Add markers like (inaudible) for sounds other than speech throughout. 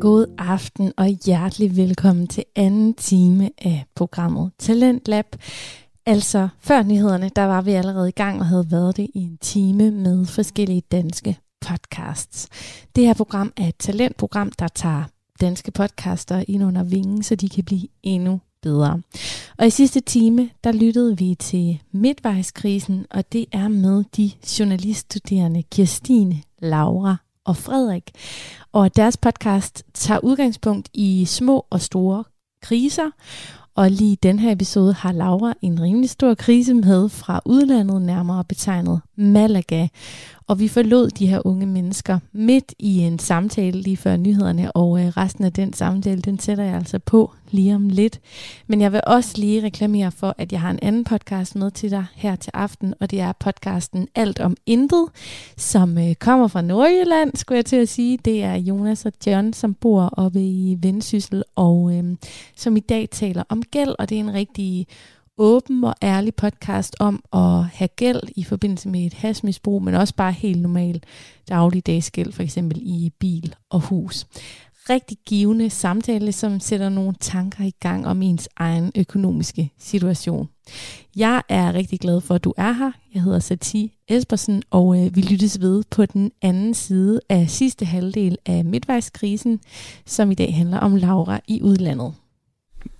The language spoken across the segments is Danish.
God aften og hjertelig velkommen til anden time af programmet Talent Lab. Altså før nyhederne, der var vi allerede i gang og havde været det i en time med forskellige danske podcasts. Det her program er et talentprogram, der tager danske podcaster ind under vingen, så de kan blive endnu bedre. Og i sidste time, der lyttede vi til midtvejskrisen, og det er med de journaliststuderende Kirstine, Laura og Frederik. Og deres podcast tager udgangspunkt i små og store kriser. Og lige i den her episode har Laura en rimelig stor krise med fra udlandet, nærmere betegnet Malaga. Og vi forlod de her unge mennesker midt i en samtale lige før nyhederne, og øh, resten af den samtale, den sætter jeg altså på lige om lidt. Men jeg vil også lige reklamere for, at jeg har en anden podcast med til dig her til aften, og det er podcasten Alt om Intet, som øh, kommer fra Nordjylland, skulle jeg til at sige. Det er Jonas og John, som bor oppe i Vendsyssel, og øh, som i dag taler om gæld, og det er en rigtig åben og ærlig podcast om at have gæld i forbindelse med et hasmisbrug, men også bare helt normal dagligdags gæld, for eksempel i bil og hus. Rigtig givende samtale, som sætter nogle tanker i gang om ens egen økonomiske situation. Jeg er rigtig glad for, at du er her. Jeg hedder Sati Espersen, og øh, vi lyttes ved på den anden side af sidste halvdel af midtvejskrisen, som i dag handler om Laura i udlandet.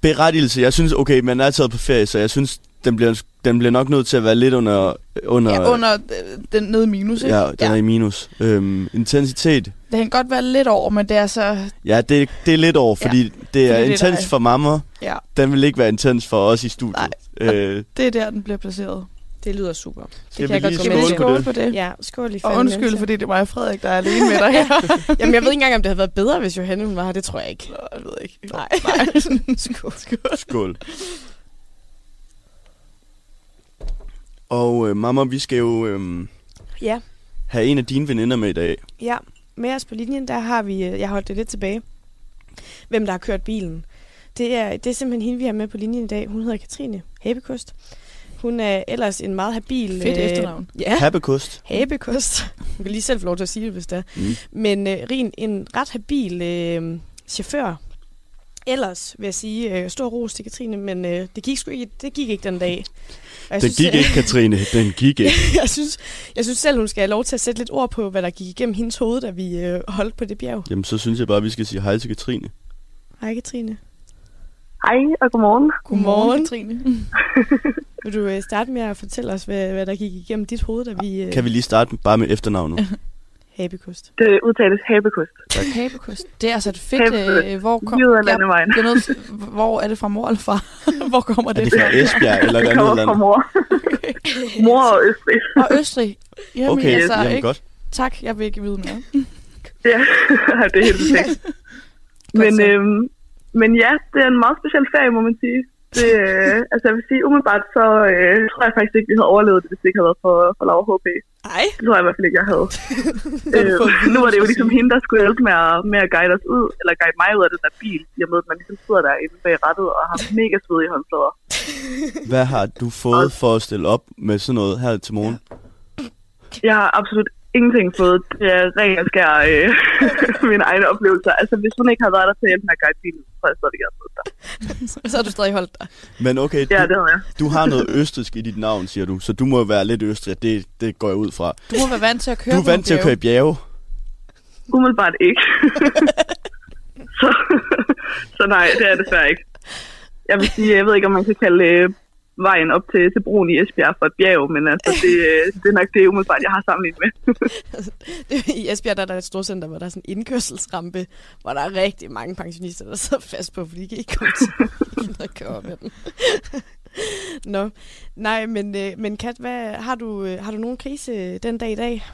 berettigelse. Jeg synes, okay, man er taget på ferie, så jeg synes, den bliver, den bliver nok nødt til at være lidt under... under, Ja, under øh, den nede minus, ikke? ja, den er i minus. Øhm, intensitet. Det kan godt være lidt over, men det er så... Ja, det, det er lidt over, Ja, fordi ja, det er det er intens dig. for mamma. Ja, Den vil ikke være intens for os i studiet. Nej. Øh, det er der, den bliver placeret. Det lyder super. skal kan jeg vi godt lige gå Skal med skåle vi til. på skåle det? på det? Ja, skål i Og fanden, undskyld, altså. fordi det er mig og Frederik, der er alene med dig her. Jamen, jeg ved (laughs) ikke engang, om det havde været bedre, hvis Johanne hun var her. Det tror jeg ikke. Nå, jeg ved ikke. Nej. Nej. (laughs) skål. skål. Skål. Og øh, mamma, vi skal jo øh, Ja, have en af dine veninder med i dag. ja. Med os på linjen, der har vi... øh, Jeg holdt det lidt tilbage. Hvem der har kørt bilen. Det er, det er simpelthen hende, vi har med på linjen i dag. Hun hedder Katrine Habekost. Hun er ellers en meget habil... Fedt øh, efternavn. Ja. Habekost. habekost. Hun kan lige selv få lov til at sige det, hvis det er. Mm. Men øh, Rin, en ret habil øh, chauffør. Ellers vil jeg sige, øh, stor ros til Katrine, men øh, det, gik sgu ikke, det gik ikke (laughs) den dag. Og jeg Den gik ikke, Katrine. Den gik ikke. (laughs) jeg, synes, jeg synes selv, hun skal have lov til at sætte lidt ord på, hvad der gik igennem hendes hoved, da vi øh, holdt på det bjerg. Jamen, så synes jeg bare, vi skal sige hej til Katrine. Hej Katrine. Hej og godmorgen. Godmorgen. Katrine. Vil du øh, starte med at fortælle os, hvad, hvad der gik igennem dit hoved, da vi... Øh, Kan vi lige starte med- bare med (laughs) efternavnet? Habekost. Det udtales habekost. Habekost. Det er altså et fedt... Habekost. Øh, hvor kom... Jyder Jeg, landevejen. jeg er nødt, hvor er det fra mor eller far? (laughs) hvor kommer Er det det fra? fra Esbjerg eller et Det andet kommer land? fra mor. mor og Østrig. Og Østrig. Jamen, Okay, altså, jamen ikke? godt. Tak, jeg vil ikke vide mere. Ja, (laughs) det er helt perfekt. Men, så. øhm, men ja, det er en meget speciel ferie, må man sige. Det, øh, altså jeg vil sige, umiddelbart så øh, tror jeg faktisk ikke, vi havde overlevet det, hvis det ikke havde været for, for Laura HP. Ej, Det tror jeg i hvert fald ikke, jeg havde. har du øh, fået at vide, nu var det jo skal ligesom sige. hende, der skulle hjælpe med at, med at guide os ud, eller guide mig ud af den der bil, i og med, at man ligesom sidder derinde bag rattet og har mega svedige håndflader. Hvad har du fået for at stille op med sådan noget her til morgen? Jeg har absolut ingenting fået. Det er ren og skær øh, (laughs) mine egne oplevelser. Altså, hvis hun ikke havde været der til at hjælpe med at guide bilen, så tror jeg stadig, jeg havde fået dig. så har du stadig holdt dig. Men okay, Ja, du, det havde jeg. du har noget østrisk i dit navn, siger du, så du må være lidt østrig, det, det går jeg ud fra. Du må være vant til at køre Du er på vant til at køre i nogle bjerge. Umiddelbart ikke. (laughs) så, så nej, det er jeg desværre ikke. Jeg vil sige, jeg ved ikke, om man kan kalde øh, vejen op til, til broen i Esbjerg for et bjerg, men altså, det, øh, det er nok det umiddelbart, jeg har sammenlignet med. (laughs) I Esbjerg der er der et storcenter, hvor der er sådan en indkørselsrampe, hvor der er rigtig mange pensionister, der sidder fast på, fordi de kan ikke komme til de gider ikke køre op ad den. Nå, nej, men, øh, men Kat, hvad, har, du, øh, har du nogen krise den dag i dag?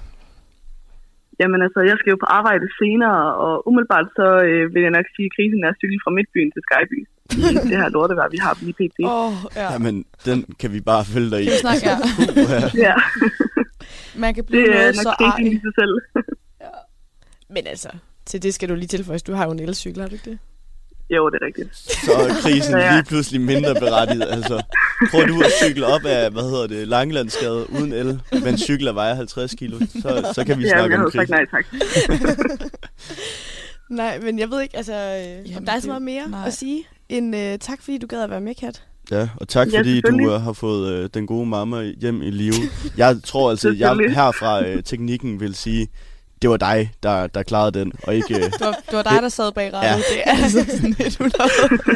Jamen altså, jeg skal jo på arbejde senere, og umiddelbart så øh, vil jeg nok sige, at krisen er at cykle fra Midtbyen til Skyby. Det her lortevejr, vi har lige pt. Åh, oh, ja. Jamen, den kan vi bare følge dig i. Kan vi snakke? Ja. Ja. Man kan Det blive er noget nok så krisen i arg. sig selv. (laughs) Men altså, til det skal du lige tilføjes. Du har jo en elcykel, har du ikke det? Jo, det er rigtigt. Så er krisen Ja. lige pludselig mindre berettiget. Altså, prøver du at cykle op af, hvad hedder det, Langelandsgade uden el, men cykler vejer 50 kilo, så, så kan vi Ja, snakke jeg om havde sagt krisen. nej tak. Nej, men jeg ved ikke, altså, Jamen, om der er det- så meget mere nej. nej. at sige, end øh, tak, fordi du gad at være med, Kat. Ja, og tak Ja, fordi du selvfølgelig. uh, har fået uh, den gode mamma hjem i live. Jeg tror altså, jeg Selvfølgelig. herfra uh, teknikken vil sige, det var dig, der, der klarede den, og ikke... Uh, Det var, det var dig, der sad bag rattet. Ja. Ja. Det (laughs) er altså sådan lidt ulovligt.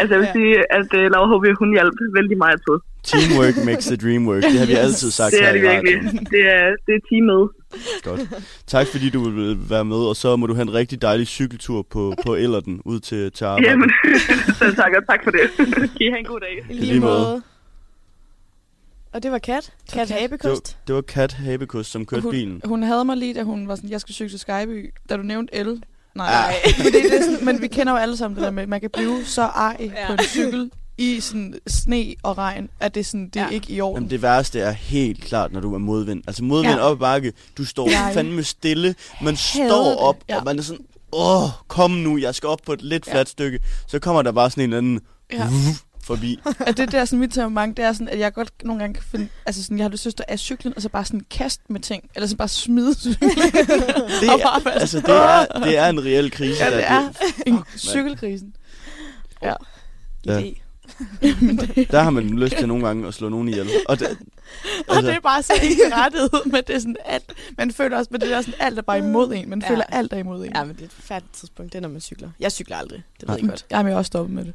Altså, jeg vil Ja. sige, at uh, Laura HB, hun hjalp vældig meget på. teamwork makes the dream work. Det har vi Yes. altid sagt Det her er det i radioen. virkelig. Det er, det er teamet. Godt. Tak fordi du vil øh, være med, og så må du have en rigtig dejlig cykeltur på, på Ellerden ud til, til arbejde. Jamen, (laughs) selv tak, og tak for det. Kan I have en god dag. I lige måde. Og det var Kat. var Kat Kat. Habekost. Det var Kat Habekost, som kørte hun, bilen. Hun havde mig lige, da hun var sådan, jeg skulle cykle til Skyby, da du nævnte el. Nej, Ah. ah. fordi det er sådan, men vi kender jo alle sammen det der med, at man kan blive så ej ja. Ja. på en cykel i sådan sne og regn, at det er, sådan, det er ja. Ja. ikke i orden. Jamen, det værste er helt klart, når du er modvind. Altså modvind ja. Ja. op ad bakke, du står Jeg fandme stille, man hader står det. op, ja. Ja. og man er sådan, åh, kom nu, jeg skal op på et lidt Ja. fladt stykke. Så kommer der bare sådan en eller anden Ja. forbi. At det der sådan, mit temperament, det er sådan, at jeg godt nogle gange kan finde, altså sådan, jeg har lyst til at stå af cyklen, og så bare sådan kaste med ting, eller sådan bare smide cyklen. Det (laughs) Og er, bare være altså, det er, det er en reel krise. Ja, der det er en cykelkrisen. Ja. Idé. der har man lyst til nogle gange at slå nogen ihjel. Og det, Og det er bare så ikke rettet, men det er sådan alt. Man føler også, men det er sådan alt er bare imod en. Man ja. Ja. føler alt er imod en. Ja, men det er et færdigt tidspunkt, det er, når man cykler. Jeg cykler aldrig, det ved Nej. jeg godt. Jamen, jeg er også stoppet med det.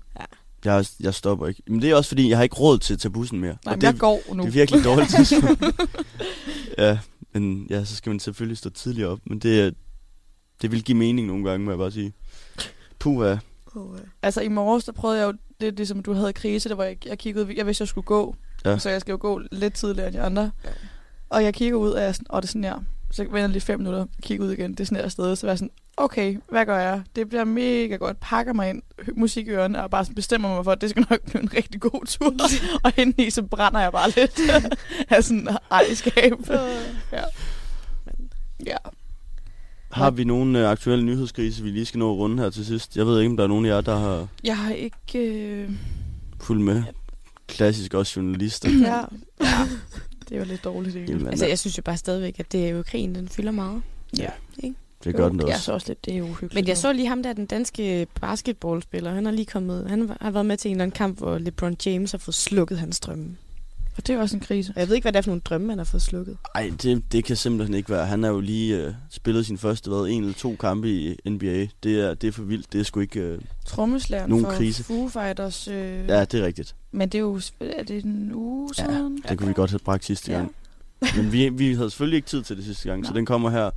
Jeg, jeg stopper ikke. Men det er også fordi, jeg har ikke råd til at tage bussen mere. Nej, og men det, jeg går nu. det er virkelig dårligt tidspunkt. (laughs) ja, men ja, så skal man selvfølgelig stå tidligere op. Men det, er- det vil give mening nogle gange, må jeg bare sige. Puh, ja. Oh, øh. Altså, i morges, der prøvede jeg jo, det er ligesom, du havde krise, der var jeg, jeg kiggede, jeg vidste, jeg skulle gå. Ja. Ja. Så jeg skal jo gå lidt tidligere end de andre. Ja. Og jeg kigger ud, og jeg er sådan, åh, det er sådan her. Så vender jeg lige fem minutter, kigger ud igen, det er sådan her sted. Så var jeg sådan, okay, hvad gør jeg? Det bliver mega godt. Pakker mig ind, hø- musik i ørerne, og bare sådan bestemmer mig for, at det skal nok blive en rigtig god (laughs) tur. og indeni, så brænder jeg bare lidt (laughs) af sådan (laughs) ejskab. ja. Ja. Har vi nogle øh, aktuelle nyhedskrise, vi lige skal nå at runde her til sidst? Jeg ved ikke, om der er nogen af jer, der har Jeg har ikke... Øh... (clears throat) fulgt med. Klassisk også journalister. (clears throat) Ja. ja. Det var lidt dårligt, egentlig. Jamen, (laughs) Altså, jeg synes jo bare stadigvæk, at det er jo krigen, den fylder meget. det gør den Det er også. så også lidt, det er uhyggeligt. Men jeg så lige ham der, den danske basketballspiller, han har lige kommet, han var- har været med til en eller anden kamp, hvor LeBron James har fået slukket hans drømme. Og det er også en krise. Og jeg ved ikke, hvad det er for nogle drømme, han har fået slukket. Ej, det, det kan simpelthen ikke være. Han har jo lige øh, spillet sin første, hvad, en eller to kampe i NBA. Det er, det er for vildt. Det er sgu ikke... Øh, Trommeslæren Nogen for krise. Foo Fighters. Øh, ja, det er rigtigt. Men det er jo er det en uge Ja, siden? Ja, Det kunne vi godt have bragt sidste Ja. (laughs) gang. Men vi, vi havde selvfølgelig ikke tid til det sidste gang, så Nej. den kommer her.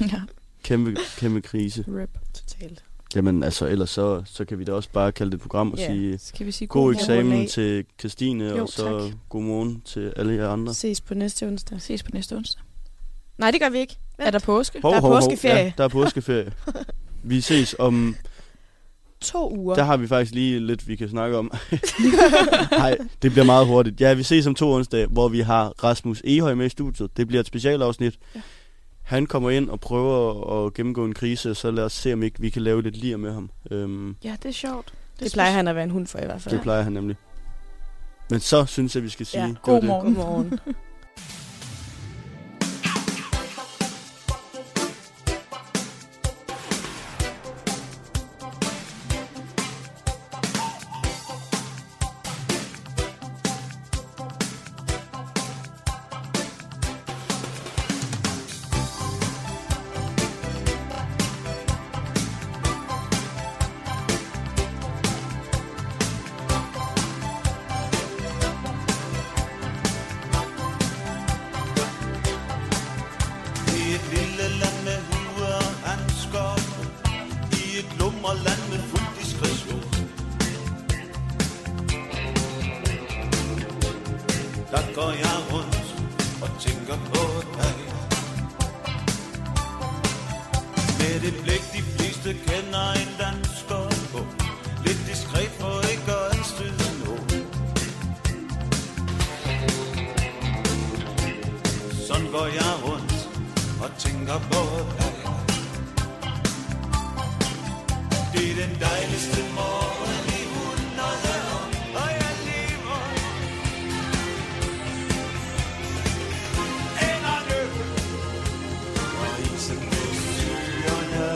ja. Kæmpe, kæmpe krise. Rip. Totalt. Jamen altså, ellers så, så kan vi da også bare kalde det et program og Ja. sige Skal vi sige god god eksamen morgen. til Christine, Jo, og så tak. god morgen til alle jer andre. Ses på næste onsdag. Ses på næste onsdag. Nej, det gør vi ikke. Er der påske? Hov, Der er hov, hov. påskeferie. Ja, der er (laughs) påskeferie. Vi ses om... To uger. Der (laughs) har vi faktisk lige lidt, vi kan snakke om. (laughs) Nej, det bliver meget hurtigt. Ja, vi ses om to onsdag, hvor vi har Rasmus Ehøj med i studiet. Det bliver et specialafsnit. Ja. Han kommer ind og prøver at gennemgå en krise, og så lad os se, om ikke vi kan lave lidt lir med ham. Øhm, Ja, det er sjovt. (laughs) Det plejer han at være en hund for i hvert fald. det plejer han nemlig. Men så synes jeg, vi skal sige... Ja, det var God det. morgen. Godmorgen. I et lille land med huer og handskov I et lumre land med fuld diskretion Der går jeg rundt og tænker på dig Med det blik de fleste kender en landskov på Lidt diskret for ikke at anstøde nogen Sådan går jeg rundt og tænker på dig. Det er den dejligste morgen i hundrede år, og jeg lever. Ender nu, og isen nu syrerne.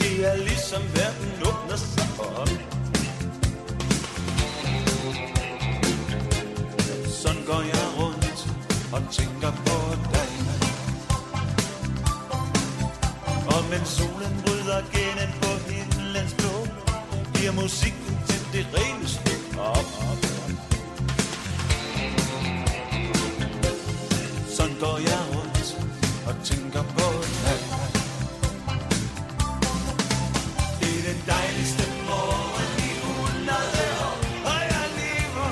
Det er ligesom verden åbner sig for os. Sådan går jeg rundt og tænker på dig. Og mens solen bryder gennem på himlens blå, giver musikken til det rene slip op. Sådan går jeg rundt og tænker på dig. Det er den dejligste morgen i hundrede år, og jeg lever.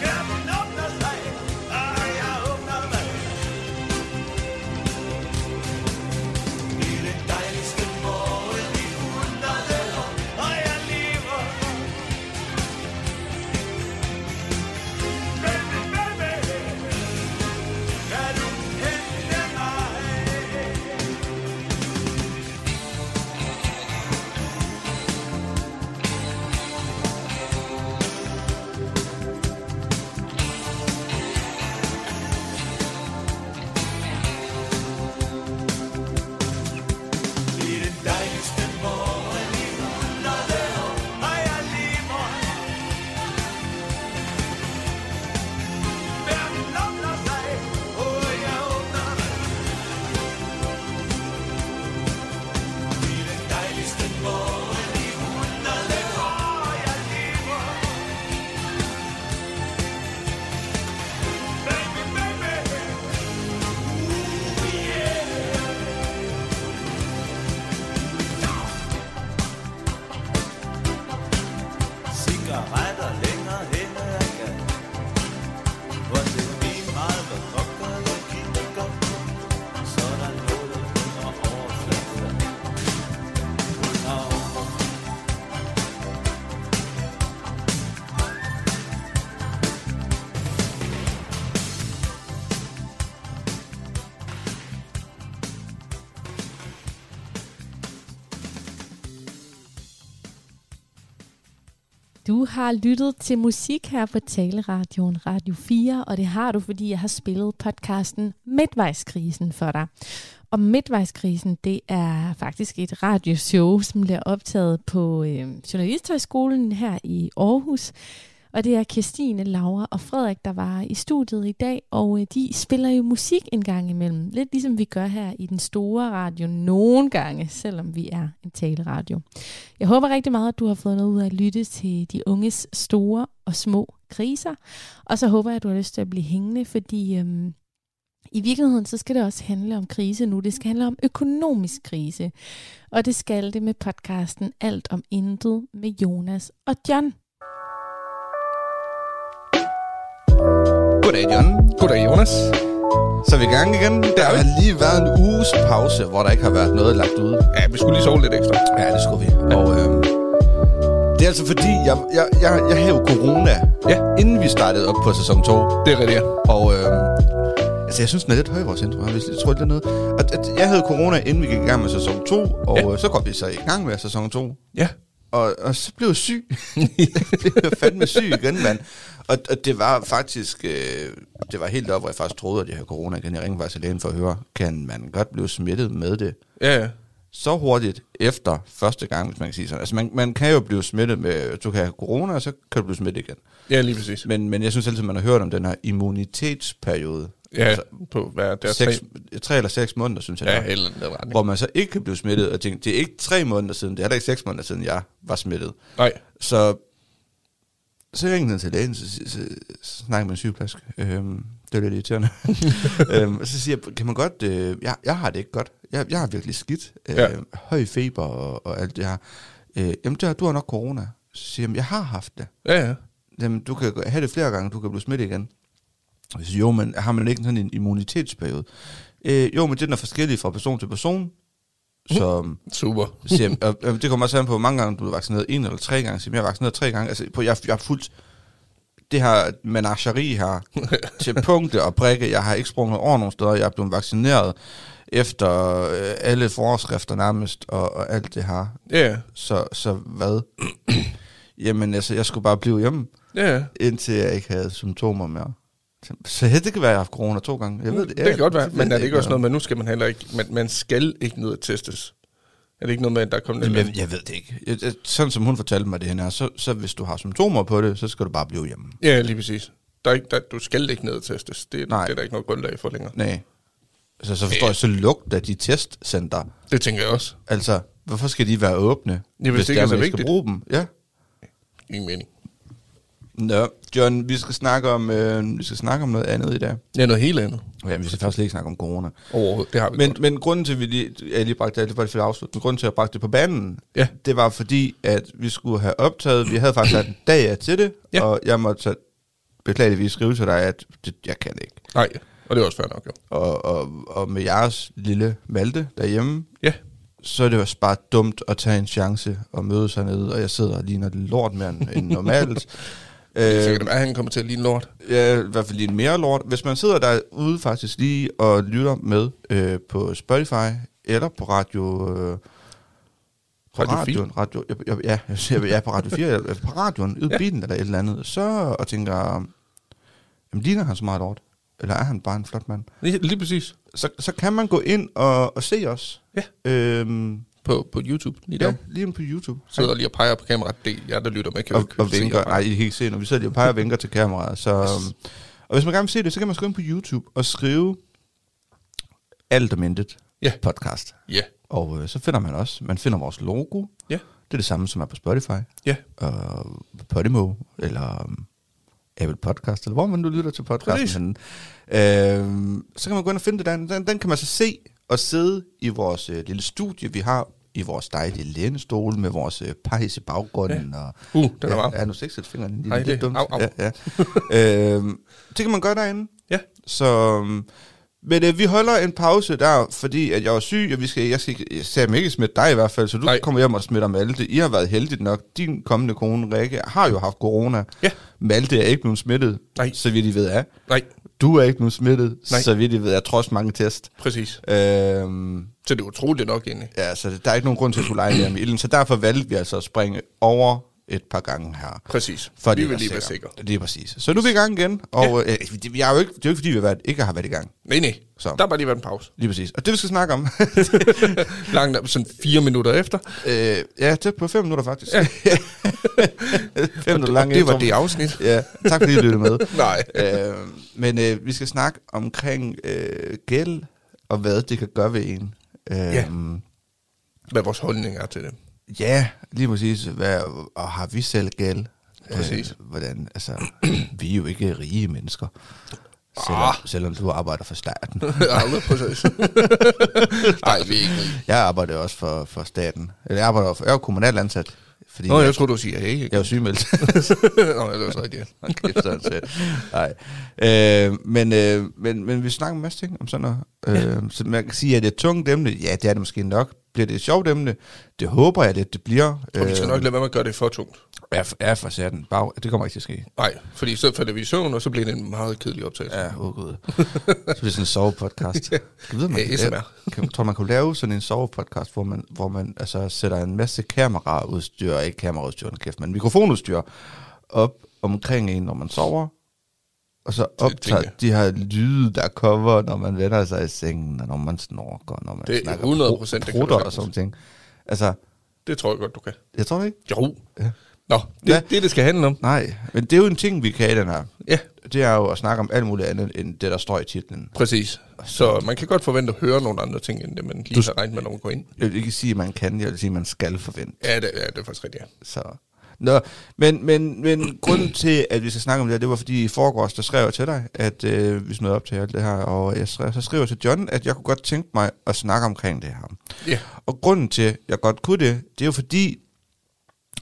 Kroppen åbner sig, og jeg åbner mig. Det er den dejligste morgen i hundrede år, og jeg lever. Baby, baby, kan du hente mig? Det er den dejligste morgen i hundrede år, og jeg lever. Verden åbner sig, og jeg åbner mig. Det er den dejligste morgen i hundrede år, og jeg lever. Baby, baby, ooh yeah. cigaretter længere hen ad gaden. Hvor det er lige meget, hvad pokker jeg kigger på, så er der noget under overfladen. Under over. Du har lyttet til musik her på Taleradioen Radio 4, og det har du, fordi jeg har spillet podcasten Midtvejskrisen for dig. Og Midtvejskrisen, det er faktisk et radioshow, som bliver optaget på øh, Journalisthøjskolen her i Aarhus. Og det er Kirstine, Laura og Frederik, der var i studiet i dag, og øh, de spiller jo musik en gang imellem. Lidt ligesom vi gør her i den store radio nogle gange, selvom vi er en taleradio. Jeg håber rigtig meget, at du har fået noget ud af at lytte til de unges store og små kriser. Og så håber jeg, at du har lyst til at blive hængende, fordi øhm, i virkeligheden så skal det også handle om krise nu. Det skal handle om økonomisk krise. Og det skal det med podcasten Alt om Intet med Jonas og John. Goddag, John. Goddag, Jonas. Så er vi i gang igen. Der har lige været en uges pause, hvor der ikke har været noget lagt ud. Ja, vi skulle lige sove lidt ekstra. Ja, det skulle vi. Og øhm, det er altså fordi, jeg, jeg, jeg, jeg havde jo corona, Ja. inden vi startede op på sæson 2. Det er rigtigt, ja. Og øhm, altså, jeg synes, den er lidt høj, vores intro. Jeg vil- jeg tror, det er noget. At, at jeg havde corona, inden vi gik i gang med sæson 2, og Ja. ja. øh, så går vi så i gang med sæson 2. Ja. og, og så blev jeg syg. (laughs) jeg blev fandme syg igen, mand. Og, og det var faktisk, øh, det var helt op, hvor jeg faktisk troede, at jeg havde corona igen. Jeg ringede faktisk til lægen for at høre, kan man godt blive smittet med det Ja, ja. så hurtigt efter første gang, hvis man kan sige sådan. Altså man, man kan jo blive smittet med, du kan have corona, og så kan du blive smittet igen. Ja, lige præcis. Men, men jeg synes altid, man har hørt om den her immunitetsperiode. Ja, Altså, på hvad er det? er seks, tre- tre eller seks måneder, synes jeg. Ja, det var. eller den retning. hvor man så ikke kan blive smittet, og tænkte, det er ikke tre måneder siden, det er heller ikke seks måneder siden, jeg var smittet. Nej. Så, så ringede han til lægen, så, så, så, så snakkede jeg med en sygeplejerske. Øhm, det var lidt irriterende. øhm, og så siger jeg, kan man godt, øh, jeg, jeg har det ikke godt. Jeg, jeg har virkelig skidt. Øh, Ja. Høj feber og, og alt det her. Øh, jamen, det har, du har nok corona. Så siger jeg, jeg har haft det. Ja, ja. Jamen, du kan have det flere gange, du kan blive smittet igen. Og jeg siger, jo, men har man ikke sådan en immunitetsperiode? Øh, jo, men den er forskellig fra person til person. Så... Super. siger, jeg, og, og det kommer også an på, hvor mange gange du er vaccineret. En eller tre gange. Siger, jeg, jeg er vaccineret tre gange. Altså, på, jeg, jeg har fuldt det her menageri (laughs) her til punkte og prikke. Jeg har ikke sprunget over nogen steder. Jeg er blevet vaccineret efter øh, alle forskrifter nærmest og, og alt det her. Ja, ja. Så, så hvad? (clears throat) Jamen altså, jeg skulle bare blive hjemme, Ja, ja. indtil jeg ikke havde symptomer mere. Så det kan være, at jeg har haft corona to gange. Jeg ved det. Mm, det kan godt være, men er ved det ikke også jeg. noget med, nu skal man heller ikke, man, man skal ikke ned og testes? Er det ikke noget med, at der kommer Jamen, jeg, jeg ved det ikke. Jeg, jeg, sådan som hun fortalte mig det hende er, så, så hvis du har symptomer på det, så skal du bare blive hjemme. Ja, lige præcis. Der er ikke, der, du skal ikke ned og testes. Det, Nej. det er der ikke noget grundlag for længere. Nej. Altså, så forstår jeg, så lugt af de testcenter. Det tænker jeg også. Altså, hvorfor skal de være åbne, hvis det ikke er, er så man skal vigtigt. bruge dem? Ja. Ingen mening. Nå, John, vi skal snakke om, øh, vi skal snakke om noget andet i dag. Det er noget helt andet. Ja, vi skal faktisk slet ikke snakke om corona. Overhovedet. Det har vi Men, godt. men grunden til, at vi lige, jeg lige bragte det, det var for at afslutte, men grunden til, at jeg bragte det på banen, Ja. det var fordi, at vi skulle have optaget, vi havde faktisk sat en dag af til det, Ja. og jeg måtte så beklageligvis skrive til dig, at det, jeg kan ikke. Nej, og det er også fair nok, jo. Og, og, og med jeres lille Malte derhjemme, Ja. så er det også bare dumt at tage en chance og møde sig nede, og jeg sidder og ligner lort mere end end (laughs) normalt. Så øh, kan det være, at han kommer til at ligne lort. Ja, i hvert fald lige en mere lort. Hvis man sidder derude faktisk lige og lytter med øh, på Spotify eller på radio... Øh, på Radio radioen, radio, ja, ja, ja, jeg siger, ja, på Radio 4, eller på radioen, ude i bilen eller et eller andet, så og tænker, jamen ligner han så meget lort? Eller er han bare en flot mand? Lige, lige præcis. Så, så kan man gå ind og, og se os. Ja. Øhm, På, på YouTube lige ja. ja, der. lige inde på YouTube. Sidder lige og peger på kameraet. Det er jer, der lytter med. Kan jo og, ikke og se vinker. det. Nej, I kan ikke se, når vi sidder lige og peger og vinker til kameraet. Så, um, og hvis man gerne vil se det, så kan man skrive ind på YouTube og skrive alt om intet Ja. podcast. Ja. Og øh, så finder man også, man finder vores logo. Ja. Det er det samme, som er på Spotify, Ja. og Øh, Podimo, eller um, Apple Podcast, eller hvor man nu lytter til Præcis. podcasten. Øhm, så kan man gå ind og finde det der. Den, den kan man så se og sidde i vores øh, lille studie, vi har i vores dejlige lænestol med vores øh, pejs i baggrunden. Ja. Og, Uh, den er ja, varm. Ja, nu seks fingrene. Det er Ej, lidt det- dumt. au, au. Ja, ja. øhm, det kan man gøre derinde. Ja. Så, øhm, men øh, vi holder en pause der, fordi at jeg var syg, og vi skal, jeg skal ikke, jeg ser mig ikke smitte dig i hvert fald, så du Nej. Nej. kommer hjem og smitter Malte. I har været heldigt nok. Din kommende kone, Rikke, har jo haft corona. Ja. Malte er ikke blevet smittet, Nej. så vidt I ved er. Nej, Du er ikke blevet smittet, Nej. så vidt I ved er, trods mange test. præcis. Øhm, Så det er utroligt nok egentlig. ja, så der er ikke nogen grund til at skulle lege mere med ilden, så derfor valgte vi altså at springe over et par gange her. Præcis. For vi vil lige være sikre. Lige præcis. Så nu er vi i gang igen, og ja. øh, det, vi er jo ikke, det er jo ikke fordi, vi har været, ikke har været i gang. Nej, nej. Så. Så. Der har bare lige været en pause. Lige præcis. Og det, vi skal snakke om, (laughs) Langt sådan fire minutter efter. øh, ja, tæt på fem minutter faktisk. Ja. (laughs) fem minutter langt. det var det afsnit. Ja, tak fordi I lyttede (laughs) med. Nej. Øh, men øh, vi skal snakke omkring øh, gæld, og hvad det kan gøre ved en. Øh, Ja. Hvad vores holdning er til (laughs) det. Ja, lige præcis. Hvad, og har vi selv gæld? Præcis. Øh, hvordan, altså, vi er jo ikke rige mennesker. Selvom, Ah. selvom du arbejder for staten. Aldrig (laughs) præcis. Nej, vi er ikke rige. Jeg arbejder også for, for staten. Eller jeg arbejder for, jeg er jo kommunalt ansat. Fordi Nå, jeg, jeg tror du siger hey. jeg er jo sygemeldt. Nå, det er også rigtigt. ja. Hold kæft, sådan set. Nej. Øh, men, øh, men, men vi snakker en masse ting om sådan noget. Øh, ja. Så man kan sige, at det er et tungt emne. Ja, det er det måske nok. Bliver det et sjovt emne? Det håber jeg lidt, det bliver. Og vi skal nok lade være med at gøre det for tungt. Ja, for, ja, for satan. Bag, det kommer ikke til at ske. Nej, fordi i stedet for det vi i søvn, og så bliver det en meget kedelig optagelse. Ja, åh oh, gud. Så bliver det sådan en sovepodcast. Kan du vide, man, Ja, ASMR. kan, tror, man kunne lave sådan en sovepodcast, hvor man, hvor man altså, sætter en masse kameraudstyr, ikke kameraudstyr, hold kæft, men mikrofonudstyr, op omkring en, når man sover, og så optager tænker jeg. de her lyde, der kommer, når man vender sig i sengen, og når man snorker, når man Det er snakker 100%, det kan du prutter og sådan sagtens. ting. Altså, Det tror jeg godt, du kan. jeg tror det ikke. Jo. Ja. Nå, det Hvad? er det, det skal handle om. Nej, men det er jo en ting, vi kan i den her. Ja, Det er jo at snakke om alt muligt andet, end det, der står i titlen. præcis. Så man kan godt forvente at høre nogle andre ting, end det man lige har regnet med, når man går ind. Jeg vil ikke sige, at man kan, jeg vil sige, at man skal forvente. Ja, det, ja, det er faktisk rigtigt, ja. Så. Nå, men, men, men grunden (clears throat) til, at vi skal snakke om det her, det var fordi i forgårs, der skrev jeg til dig, at øh, vi snød op til alt det her, og jeg skrev, så skrev jeg til John, at jeg kunne godt tænke mig at snakke omkring det her. Ja, Og grunden til, at jeg godt kunne det, det er jo fordi,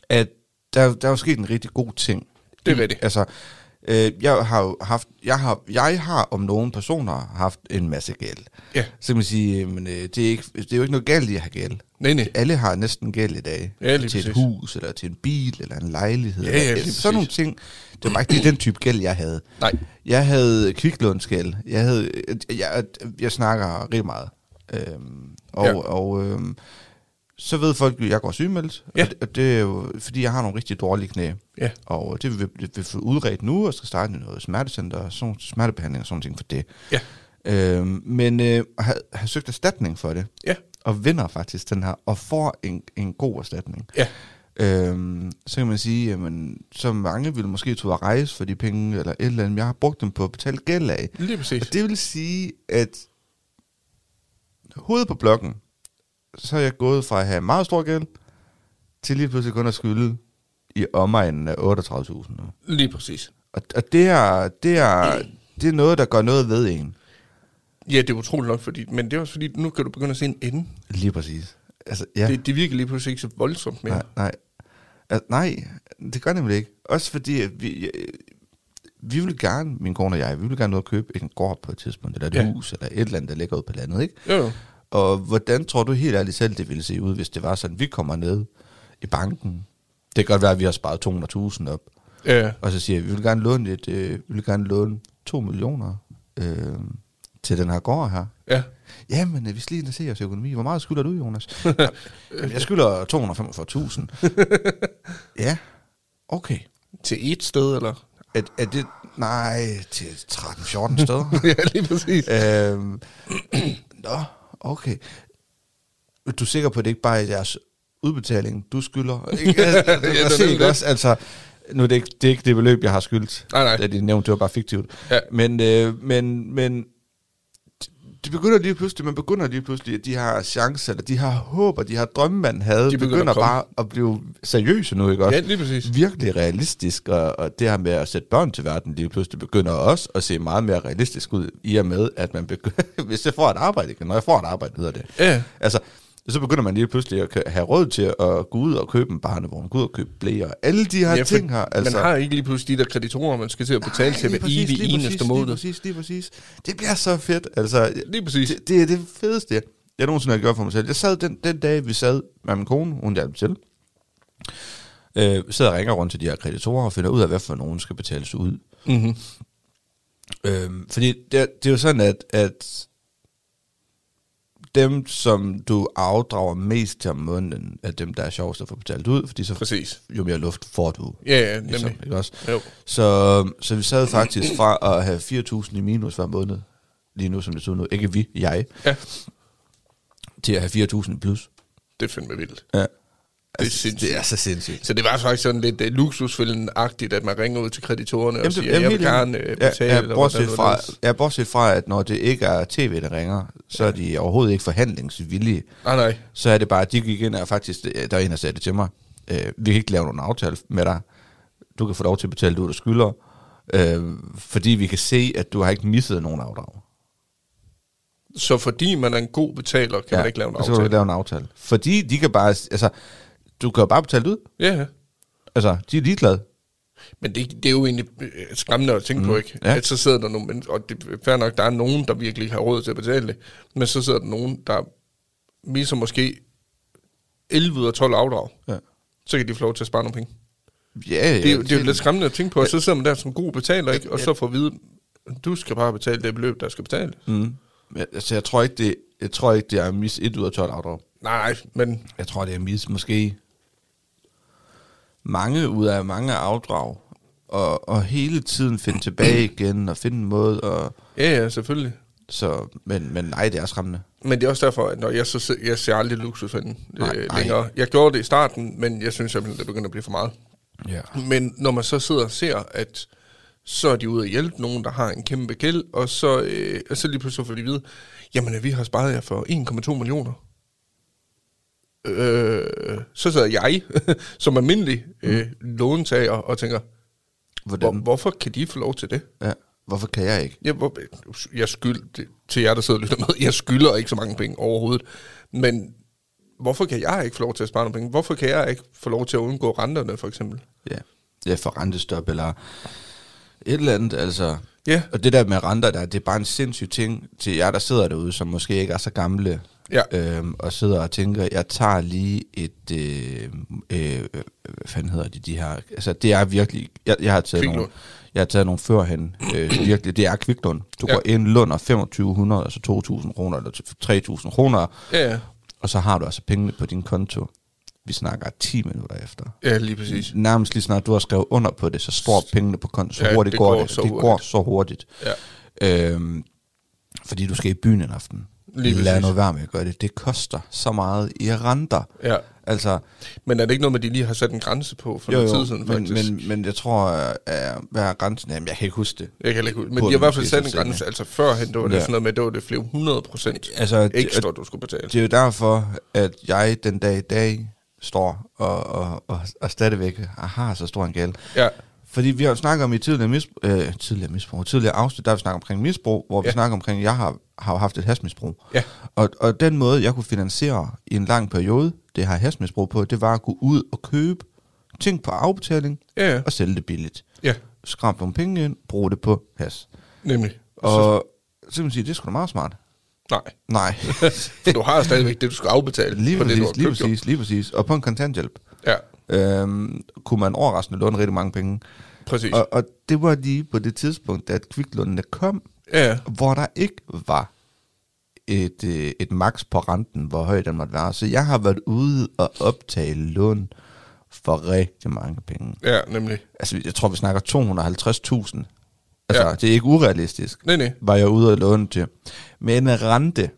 at der, der er jo sket en rigtig god ting. Det er rigtigt. Altså, øh, jeg har jo haft, jeg har, jeg har om nogle personer haft en masse gæld. ja. Så kan man sige, men øh, det, er ikke, det er jo ikke noget galt i at have gæld. Nej, nej. Alle har næsten gæld i dag. Ja, lige til et præcis. hus, eller til en bil, eller en lejlighed. Ja, eller- ja, eller lige Sådan nogle præcis. ting. Det var ikke lige den type gæld, jeg havde. Nej. Jeg havde kviklånsgæld. Jeg, havde, øh, jeg, jeg, jeg snakker rigtig meget. Øhm, og Ja. og øhm, så ved folk, at jeg går sygemeldt, Ja. og, det, og det er jo, fordi jeg har nogle rigtig dårlige knæ. Ja. Og det vil vi vil få udredt nu, og skal starte i noget smertecenter, og sådan, smertebehandling og sådan ting for det. Ja. Øhm, men øh, har, har søgt erstatning for det, Ja. og vinder faktisk den her, og får en, en god erstatning. Ja. Øhm, så kan man sige, jamen, så mange ville måske tro at rejse for de penge, eller et eller andet, men jeg har brugt dem på at betale gæld af. Lige præcis. Og det vil sige, at hovedet på blokken, så er jeg gået fra at have meget stor gæld, til lige pludselig kun at skylde i omegnen af 38.000. nu. Lige præcis. Og, og det, er, det, er, det er noget, der gør noget ved en. Ja, det er utroligt nok, fordi, men det er også fordi, nu kan du begynde at se en ende. Lige præcis. Altså, ja. Ja. Det, det virker lige pludselig ikke så voldsomt mere. Nej, nej. Altså, nej, det gør nemlig ikke. Også fordi, at vi, øh, vi vil gerne, min kone og jeg, vi vil gerne ud og købe en gård på et tidspunkt, eller et Ja. ja. hus, eller et eller andet, der ligger ude på landet, ikke? Jo, jo. Og hvordan tror du helt ærligt selv, det ville se ud, hvis det var sådan, vi kommer ned i banken. Det kan godt være, at vi har sparet 200.000 op, Ja, og så siger vi, vi vil gerne låne, et, øh, vi vil gerne låne 2 millioner øh, til den her gård her. ja. Jamen, øh, vi skal lige ind og se jeres økonomi. Hvor meget skylder du, Jonas? (laughs) Jamen, (laughs) jeg skylder 245.000. ja, okay. Til et sted, eller? Er, er det... Nej, til 13-14 steder. (laughs) ja, lige præcis. øhm, nå, okay. Du er sikker på, at det ikke bare er jeres udbetaling, du (laughs) skylder? Ikke? Altså, Ja, det er det er nemlig ikke også, altså, nu er det, ikke, det er ikke det beløb, jeg har skyldt. Nej, nej. Da de nævnte, det var bare fiktivt. Ja. Men, øh, men, men de begynder lige pludselig, man begynder lige pludselig, at de her chancer, eller de her håber, de her drømme, man havde, De de begynder begynder, at komme. bare at blive seriøse nu, ikke også? Ja, lige præcis. virkelig realistisk, og, og det her med at sætte børn til verden lige pludselig begynder også at se meget mere realistisk ud, i og med, at man begynder, (laughs) hvis jeg får et arbejde, ikke? når jeg får et arbejde, hedder det. Ja. Altså, så begynder man lige pludselig at kø- have råd til at gå ud og købe en barnevogn, gå ud og købe blæer, og alle de her ja, ja, for ting her. Altså, Man har ikke lige pludselig de der kreditorer, man skal til at betale til lige hver præcis, evig lige præcis, eneste Lige måned. præcis, lige præcis. Det bliver så fedt. Altså, Lige præcis. det, det er det fedeste, jeg, jeg nogensinde har gjort for mig selv. Jeg sad den, den dag, vi sad med min kone, hun hjalp til. Øh, sidder og ringer rundt til de her kreditorer og finder ud af, hvad for nogen skal betales ud. Mm-hmm. Øh, fordi det, er- det er jo sådan, at, at dem, som du afdrager mest til om måneden, er dem, der er sjovest at få betalt ud, fordi så Præcis. jo mere luft får du. Ja, ja, Ligesom, nemlig. ikke også? Jo. Så, så vi sad faktisk fra at have 4.000 i minus hver måned, lige nu som det ser ud nu, ikke vi, jeg, Ja, til at have 4.000 i plus. det er fandme vildt. Ja. Det er sindssygt. Altså, Det er så sindssygt. Så det var faktisk sådan lidt uh, luksusfælden-agtigt, at man ringer ud til kreditorerne og siger, jeg vil helt gerne uh, enig. betale. Ja, og ja, bortset, hvordan fra, og hvorledes. ja, bortset fra, at når det ikke er tv, der ringer, så ja. er de overhovedet ikke forhandlingsvillige. Nej, nej. Så er det bare, at de gik ind og faktisk, øh, der er en, der sagde det til mig, øh, vi kan ikke lave nogen aftale med dig. Du kan få lov til at betale det, du skylder, øh, fordi vi kan se, at du har ikke misset nogen afdrag. Så fordi man er en god betaler, kan ja, man ikke lave en Så kan du ikke aftale. lave en aftale. Fordi de kan bare, altså, du kan jo bare betale det ud. Ja, ja. Altså, de er ligeglade. Men det, det er jo egentlig øh, skræmmende at tænke mm, på, ikke? Ja. ja. At så sidder der nogen, men- og det er fair nok, der er nogen, der virkelig har råd til at betale det, men så sidder der nogen, der misser måske 11 ud af 12 afdrag. Ja. Så kan de få lov til at spare nogle penge. Ja, Det er, jo, det er jo lidt skræmmende at tænke på, og så sidder man der som god betaler, ikke? Og så får at vide, du skal bare betale det beløb, der skal betale. Mm. Men, Altså, jeg tror ikke, det, jeg tror ikke, det er mis 1 ud af 12 afdrag. Nej, men Jeg tror, det er mis måske mange ud af mange afdrag. Og, og hele tiden finde (clears throat) tilbage igen og finde en måde. Og, ja, ja, selvfølgelig. så, men, men nej, det er skræmmende. Men det er også derfor, at når jeg, så, sidder- jeg ser aldrig luksusfælden Nej, øh, nej. længere. Jeg gjorde det i starten, men jeg synes simpelthen, det begynder at blive for meget. Ja. Men når man så sidder og ser, at så er de ude at hjælpe nogen, der har en kæmpe gæld, og så, øh, og så lige pludselig får de at vide, jamen øh, vi har sparet jer for 1,2 millioner. Øh, så sidder jeg (laughs) som almindelig øh, låntager og tænker, hvor, Hvordan? hvorfor kan de få lov til det? ja. Hvorfor kan jeg ikke? Jeg, hvor, jeg skyld, det- til jer, der sidder og lytter med, jeg skylder ikke så mange penge overhovedet, men hvorfor kan jeg ikke få lov til at spare nogle penge? Hvorfor kan jeg ikke få lov til at undgå renterne, for eksempel? Ja, ja for rentestop eller et eller andet, altså. Ja. Og det der med renter, der, det er bare en sindssyg ting til jer, der sidder derude, som måske ikke er så gamle, Ja. øhm, og sidder og tænker, jeg tager lige et, øh, øh, øh, hvad fanden hedder de, de her, altså det er virkelig, jeg, jeg har taget Kviklån. nogle, jeg har taget nogle førhen, øh, virkelig, det er kviklån. Du Ja. ja. går ind, låner 2500, altså 2000 kroner, eller 3000 kroner, Ja, ja. og så har du altså pengene på din konto. Vi snakker 10 minutter efter. Ja, lige præcis. Nærmest lige snart du har skrevet under på det, så står pengene på konto, så Ja, hurtigt det går, går det. så det går hurtigt. så hurtigt. Ja. Øhm, fordi du skal i byen en aften. Lige Lad præcis. nu være med at gøre det. Det koster så meget i renter. Ja. Altså, Men er det ikke noget med, at de lige har sat en grænse på for jo, noget tid siden, men, faktisk? Men, men, men jeg tror, at hvad er grænsen? Jamen, jeg kan ikke huske det. jeg kan heller ikke, huske- men Burde de har i hvert fald måske sat en så sætte grænse. Altså førhen, der var det Ja. sådan noget med, at det var det flere 100 procent Altså, det- ekstra, du skulle betale. Det er jo derfor, at jeg den dag i dag står og, og, og, og stadigvæk har så stor en gæld. Ja, Fordi vi har jo snakket om i tidligere, misbrug, øh, tidligere misbrug, tidligere afsnit, der har vi snakket omkring misbrug, hvor ja. vi Ja. snakker omkring, at jeg har, har jo haft et hasmisbrug. Ja. Og, og den måde, jeg kunne finansiere i en lang periode, det har hasmisbrug på, det var at gå ud og købe ting på afbetaling ja, ja. og sælge det billigt. ja Skrab nogle penge ind, bruge det på has. nemlig. Og så, Og så kan man sige, det er sgu da meget smart. (laughs) nej, (laughs) Nej, for du har stadigvæk det, du skal afbetale lige for det, du har præcis, lige købt. jo. præcis, lige præcis. Og på en kontanthjælp. Ja, øhm, kunne man overraskende låne rigtig mange penge. præcis. Og, og det var lige på det tidspunkt, at kviklånene kom, Ja, ja. hvor der ikke var et, øh, et max på renten, hvor høj den måtte være. Så jeg har været ude og optage lån for rigtig mange penge. ja, nemlig. Altså, jeg tror, vi snakker 250.000. Altså, ja. Ja. det er ikke urealistisk, Nej, nej. var jeg ude og låne til. Med en rente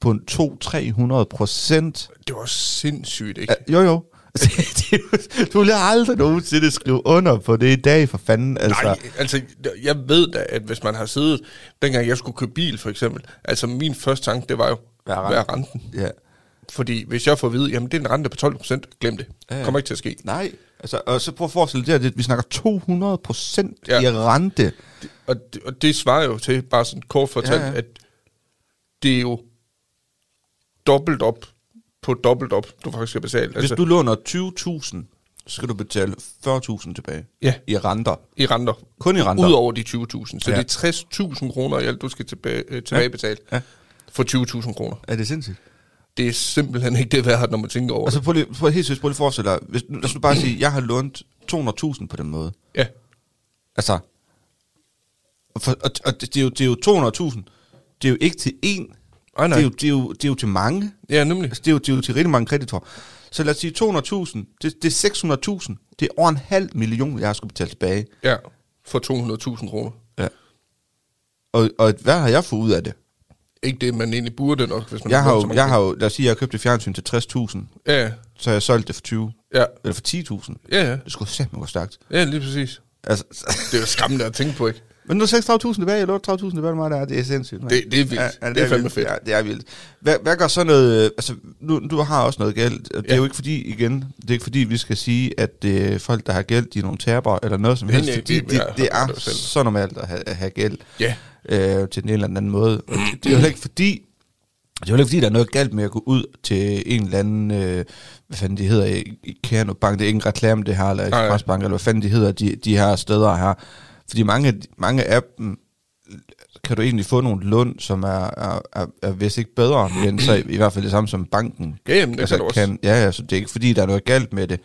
på en 200-300 procent. Det var sindssygt, ikke? Ja, jo, jo. (laughs) Altså, det er jo- du vil aldrig nogensinde skrive under på det i dag, for fanden. Altså, Nej, altså, jeg ved da, at hvis man har siddet, dengang jeg skulle købe bil, for eksempel, altså min første tanke, det var jo, Hvad hvad er er, renten? renten? Ja. Fordi hvis jeg får at vide, jamen det er en rente på 12 procent, glem det. Ja, ja. Kommer ikke til at ske. Nej. Altså, og så prøv at forestille dig, at vi snakker 200 procent ja. Ja. Altså- i rente. Og det, og det svarer jo til, bare sådan kort fortalt, ja, Ja, ja. ja. at det er jo dobbelt op på dobbelt op, du faktisk skal betale. altså, Hvis du låner 20.000, så skal du betale 40.000 tilbage Ja. i renter. I renter. Kun i renter. Udover de 20.000. Så Ja. ja. det er 60.000 kroner i alt, du skal tilbage, øh, tilbagebetale Ja. ja. for 20.000 kroner. Er det sindssygt? Det er simpelthen ikke det værd, når man tænker over Altså, prøv lige, prøv, helt seriøst, prøv lige at forestille dig. Hvis, nu- lad os nu bare sige, at jeg har lånt 200.000 på den måde. det. Ja. Altså, og for, og, og det, det, er jo, det er jo 200.000. Det er jo ikke til én. Ej, nej. Det, er jo, det, er jo, det er jo til mange. ja, nemlig. Altså, det er jo, det er jo til rigtig mange kreditorer. Så lad os sige 200.000, det, det er 600.000, det er over en halv million, jeg har skulle betale tilbage. Ja, for 200.000 kroner. Ja. Og, og hvad har jeg fået ud af det? Ikke det, man egentlig burde nok, hvis man Jeg har lånt så jo, mange jeg har jo lad os sige, jeg købte fjernsyn til 60.000, penge. Ja, så har jeg solgte det for 20, ja, eller for 10.000. ja, ja. Det skulle simpelthen gå stærkt. Ja, lige præcis. Altså, Det er jo skræmmende at tænke på, ikke? men nu er 6.000 tilbage, eller 8.000 tilbage, hvor meget der er, det er sindssygt. mand. Det- det er vildt. Det er fandme vildt. fedt. Ja, det er vildt. Hvad, hvad gør så noget, øh, altså nu, du har også noget gæld, og det er Ja. jo ikke fordi, igen, det er ikke fordi, vi skal sige, at øh, folk, der har gæld, de er nogle taber, eller noget som Nej, helst, nej, fordi det- det, jeg det har er det jo selv. så normalt at have, at have gæld Ja. øh, til den ene eller den anden måde. Og Det er jo heller ikke fordi, det er jo heller ikke fordi, der er noget galt med at gå ud til en eller anden, øh, hvad fanden de hedder, I- I- Ikano Bank, det er ikke en reklame det her, eller Nej. Expressbank, eller hvad fanden de hedder, de, de her steder her. Fordi mange, af de- mange af dem, kan du egentlig få nogle lån, som er, er, er, er vist ikke bedre, men så i, i hvert fald det samme som banken. Ja, jamen, det Altså, kan du også. Ja, ja, så det er ikke fordi, der er noget galt med det,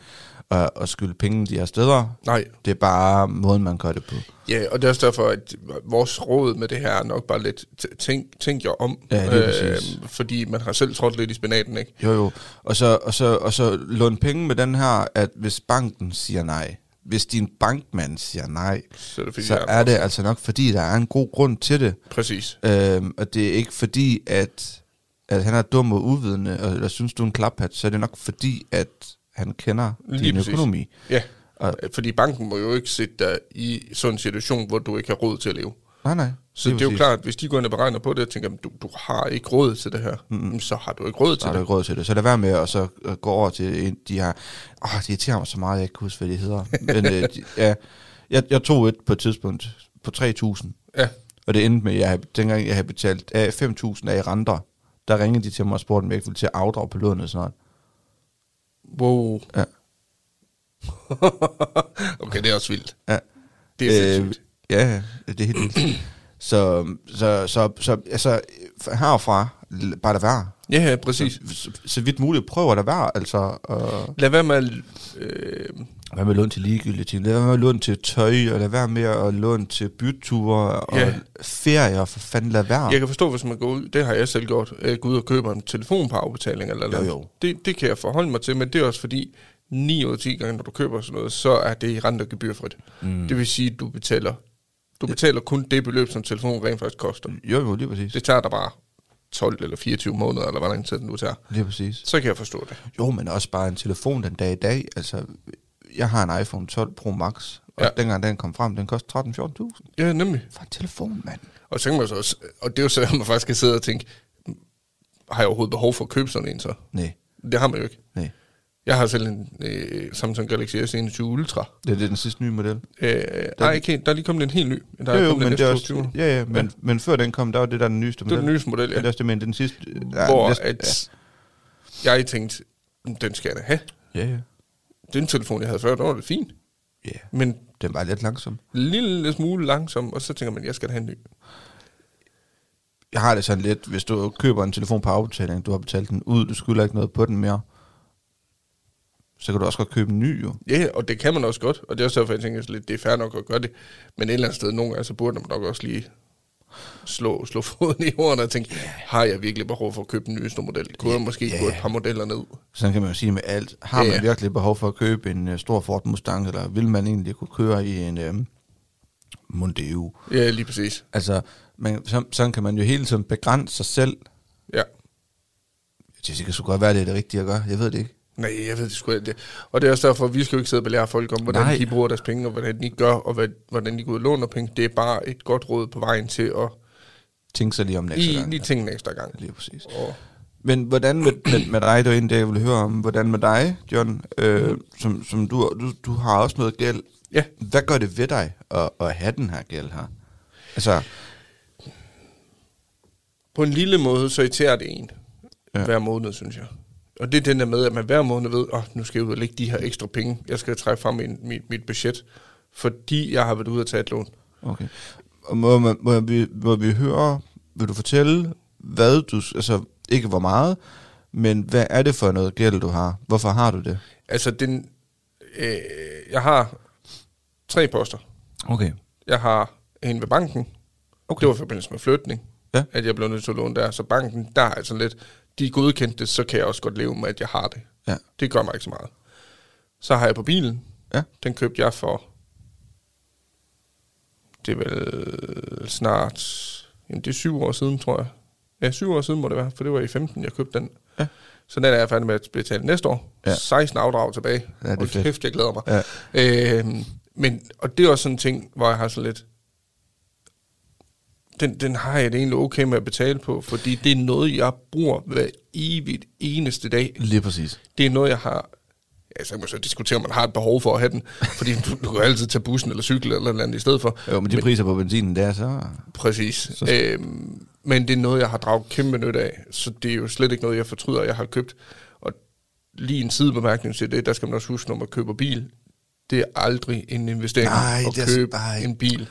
at, at skylde penge de her steder. Nej. Det er bare måden, man gør det på. Ja, og det er også derfor, at vores råd med det her er nok bare lidt, t- tænk, tænk jer om. Øh, Ja, lige præcis. fordi man har selv trådt lidt i spinaten, ikke? Jo, jo. Og så, og så, og så låne penge med den her, at hvis banken siger nej, hvis din bankmand siger nej, Så er det fordi, så der er det altså nok, fordi der er en god grund til det. Præcis. Øhm, og det er ikke fordi, at, at han er dum og uvidende, og, eller synes du er en klaphat, så er det nok fordi, at han kender Lige din præcis. økonomi. Ja, Øh, Og- fordi banken må jo ikke sætte dig i sådan en situation, hvor du ikke har råd til at leve. Nej, nej. Så lige det er jo præcis. klart, at hvis de går ind og beregner på det og tænker, at du, du har ikke råd til det her, mm. så har du ikke råd Så til har du det. ikke råd til det. Så lad være med at så øh, gå over til en, de her... Åh, det irriterer mig så meget, jeg ikke kan huske, hvad de hedder. Men øh, de, ja, jeg, jeg tog et på et tidspunkt på 3.000. Ja, Og det endte med, at jeg, havde- dengang jeg havde betalt af 5.000 af i renter, der ringede de til mig og spurgte, om jeg ikke ville til at afdrage på lånet snart. wow. Ja. (laughs) okay, det er også vildt. Ja. Øh, Det er sindssygt. ja, ja, det er helt vildt. Så, så, så, så altså, herfra, l- bare lad være. Ja, ja, præcis. Så, så vidt muligt, prøv at lade være, altså. Og, Lad være med at øh, Hvad med lån til ligegyldige ting? Lad være med at låne til tøj, og lad være med at låne til byture og Ja. ferier, for fanden lad være. Jeg kan forstå, hvis man går ud, det har jeg selv gjort, øh, går ud og køber en telefon på afbetaling eller Jo, noget. jo. Det, det kan jeg forholde mig til, men det er også fordi, 9 ud af 10 gange, når du køber sådan noget, så er det rent og gebyrfrit. Mm. Det vil sige, du betaler, du betaler kun det beløb, som telefonen rent faktisk koster. Jo, jo, lige præcis. Det tager dig bare 12 eller 24 måneder, eller hvor lang tid den nu tager. Lige præcis. Så kan jeg forstå det. Jo, men også bare en telefon den dag i dag. Altså, jeg har en iPhone 12 Pro Max, og Ja. ja. dengang den kom frem, den koster 13-14.000 Ja, nemlig. for en telefon, mand. Og så tænker man så også, og det er jo så, at man faktisk kan sidde og tænke, har jeg overhovedet behov for at købe sådan en så? Nej, Det har man jo ikke. nej. Jeg har selv en øh, Samsung Galaxy S21 Ultra. Det, det er den sidste nye model. Øh, nej, ikke helt. Der er lige kommet en helt ny. Der er jo, jo, kommet men en det er S22. også, ja, ja, men, ja. men før den kom, der var det der den nyeste Det er model. den nyeste model, Ja. Det er ja. også det, men den sidste... Ja, Hvor næsten- at jeg tænkte, "Mm, den skal jeg da have. Ja, ja. Den telefon, jeg havde før, der var det fint. ja. Men en Den var lidt langsom. lille smule langsom, og så tænker man, jeg skal da have en ny. Jeg har det sådan lidt, hvis du køber en telefon på afbetaling, du har betalt den ud, du skylder ikke noget på den mere, så kan du også godt købe en ny, jo. Ja, yeah, og det kan man også godt. Og det er også derfor, jeg tænker, sådan lidt, det er fair nok at gøre det. Men et eller andet sted, nogle gange, så burde man nok også lige slå, slå (laughs) foden i jorden og tænke, har jeg virkelig behov for at købe den nyeste model? Kunne jeg måske Ja. yeah. gå et par modeller ned? Sådan kan man jo sige med alt. Har Ja, man ja. virkelig behov for at købe en uh, stor Ford Mustang, eller vil man egentlig kunne køre i en um, Mondeo? Ja, lige præcis. Altså, man, så, sådan kan man jo hele tiden begrænse sig selv. Ja. Det det kan sgu godt være, det er det rigtige at gøre. Jeg ved det ikke. Nej, jeg ved det sgu ikke. Det- Og det er også derfor, at vi skal jo ikke sidde og belære folk om, hvordan Nej. Nej. de bruger deres penge, og hvordan de gør, og hvad, hvordan de går ud og låner penge. Det er bare et godt råd på vejen til at Tænk så lige om næste lige, gang. altså. lige tænke en ekstra gang. Lige præcis. Og Men hvordan med, med, med dig, det var en det, jeg ville høre om. Hvordan med dig, John? Øh, som, som du, du, du har også noget gæld. Ja. Hvad gør det ved dig at, at have den her gæld her? Altså, på en lille måde, så irriterer det en Ja. ja. hver måned, synes jeg. Og det er den der med, at man hver måned ved, at oh, nu skal jeg ud og lægge de her ekstra penge. Jeg skal trække fra min, mit, mit budget, fordi jeg har været ude og tage et lån. okay. Og må, man, må, vi, må vi høre, vil du fortælle, hvad du, altså ikke hvor meget, men hvad er det for noget gæld, du har? Hvorfor har du det? Altså, den, øh, jeg har tre poster. Okay. Jeg har en ved banken. Okay. Okay. Det var i forbindelse med flytning, Ja. ja. at jeg blev nødt til at låne der. Så banken, der er altså lidt, de godkendte det, så kan jeg også godt leve med, at jeg har det. Ja. Det gør mig ikke så meget. Så har jeg på bilen. Ja. Den købte jeg for, det er vel snart, jamen det er syv år siden, tror jeg. Ja, syv år siden må det være, for det var i 15, jeg købte den. Ja. Så den er jeg færdig med at betale næste år. Ja. 16 afdrag tilbage. Ja, det er Hold fedt. kæft, jeg glæder mig. Ja. Øhm, men, og det er også sådan en ting, hvor jeg har sådan lidt, den, den har jeg det egentlig okay med at betale på, fordi det er noget, jeg bruger hver evigt eneste dag. Lige præcis. Det er noget, jeg har... Ja, så kan man så diskutere, om man har et behov for at have den, fordi du, du kan altid tage bussen eller cykle eller noget andet i stedet for. Jo, men de priser på benzinen, der er så... Præcis. Så- Øhm, men det er noget, jeg har draget kæmpe nyt af, så det er jo slet ikke noget, jeg fortryder, jeg har købt. Og lige en sidebemærkning til det, der skal man også huske, når man køber bil, det er aldrig en investering Nej, det at er så- købe nej. en bil.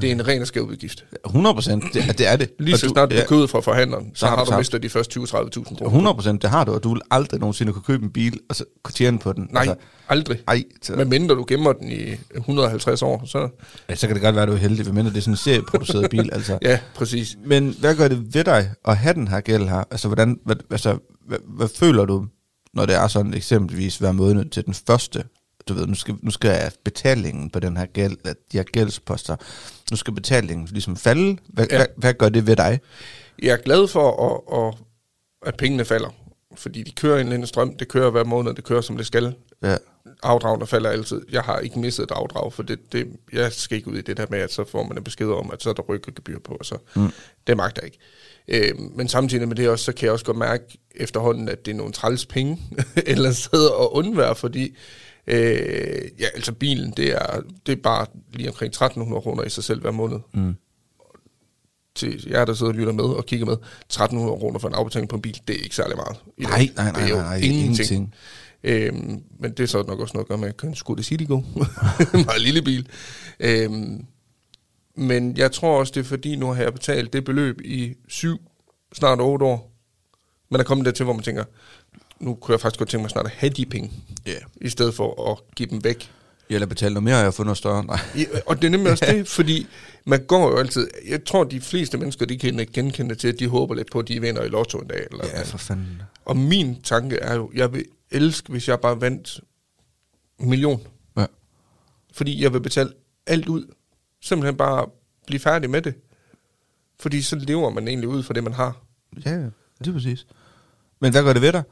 Det er en ren og skæv udgift. 100 procent, det, det er det. Lige Og så snart du ja. ja. køber ud fra forhandleren, så, har har du du tabt. mistet de første 20-30.000 kroner. 100 procent, det har du, og du vil aldrig nogensinde kunne købe en bil, og så kunne tjene på den. Nej, Altså, aldrig. ej, så, Men mindre du gemmer den i 150 år, så... ja, så kan det godt være, at du er heldig, medmindre det er sådan en serieproduceret bil, (laughs) altså. Ja, præcis. Men hvad gør det ved dig at have den her gæld her? Altså, hvordan, hvad, altså, hvad, hvad føler du, når det er sådan eksempelvis hver måned til den første? Du ved, nu skal, nu skal betalingen på den her gæld, at de her gældsposter, nu skal betalingen ligesom falde. Hvad, ja. Ja. hvad, hvad gør det ved dig? Jeg er glad for, at, at, at pengene falder. Fordi de kører i en eller anden strøm. Det kører hver måned, det kører som det skal. Ja, Afdragene falder altid. Jeg har ikke misset et afdrag, for det, det, jeg skal ikke ud i det der med, at så får man en besked om, at så er der rykket gebyr på, og så mm. det magter jeg ikke. Øh, men samtidig med det også, så kan jeg også godt mærke efterhånden, at det er nogle træls penge (laughs) et eller andet sted at undvære, fordi øh, ja, altså bilen, det er, det er bare lige omkring 1300 kroner i sig selv hver måned. Mm. Til jer, der sidder og lytter med og kigger med, 1300 kroner for en afbetaling på en bil, det er ikke særlig meget. i dag. Nej, nej, nej, det er jo nej, nej, ingenting. ingenting. Øhm, men det er så nok også noget at gøre med, at jeg kører en Skoda Citigo. (laughs) en meget lille bil. Øhm, men jeg tror også, det er fordi, nu har jeg betalt det beløb i syv, snart otte år. Men der kommer det til, hvor man tænker, nu kunne jeg faktisk godt tænke mig snart at have de penge, Ja. Yeah. i stedet for at give dem væk. Eller betale noget mere, og jeg har fundet noget større. Nej. Ja, og det er nemlig også det, fordi man går jo altid... Jeg tror, de fleste mennesker, de kan ikke genkende det til, at de håber lidt på, at de vinder i lotto en dag. Eller Ja, for fanden. Og min tanke er jo, jeg vil elske, hvis jeg bare vandt en million. Ja. Fordi jeg vil betale alt ud. Simpelthen bare blive færdig med det. Fordi så lever man egentlig ud for det, man har. Ja, ja, det er præcis. Men hvad gør det ved dig?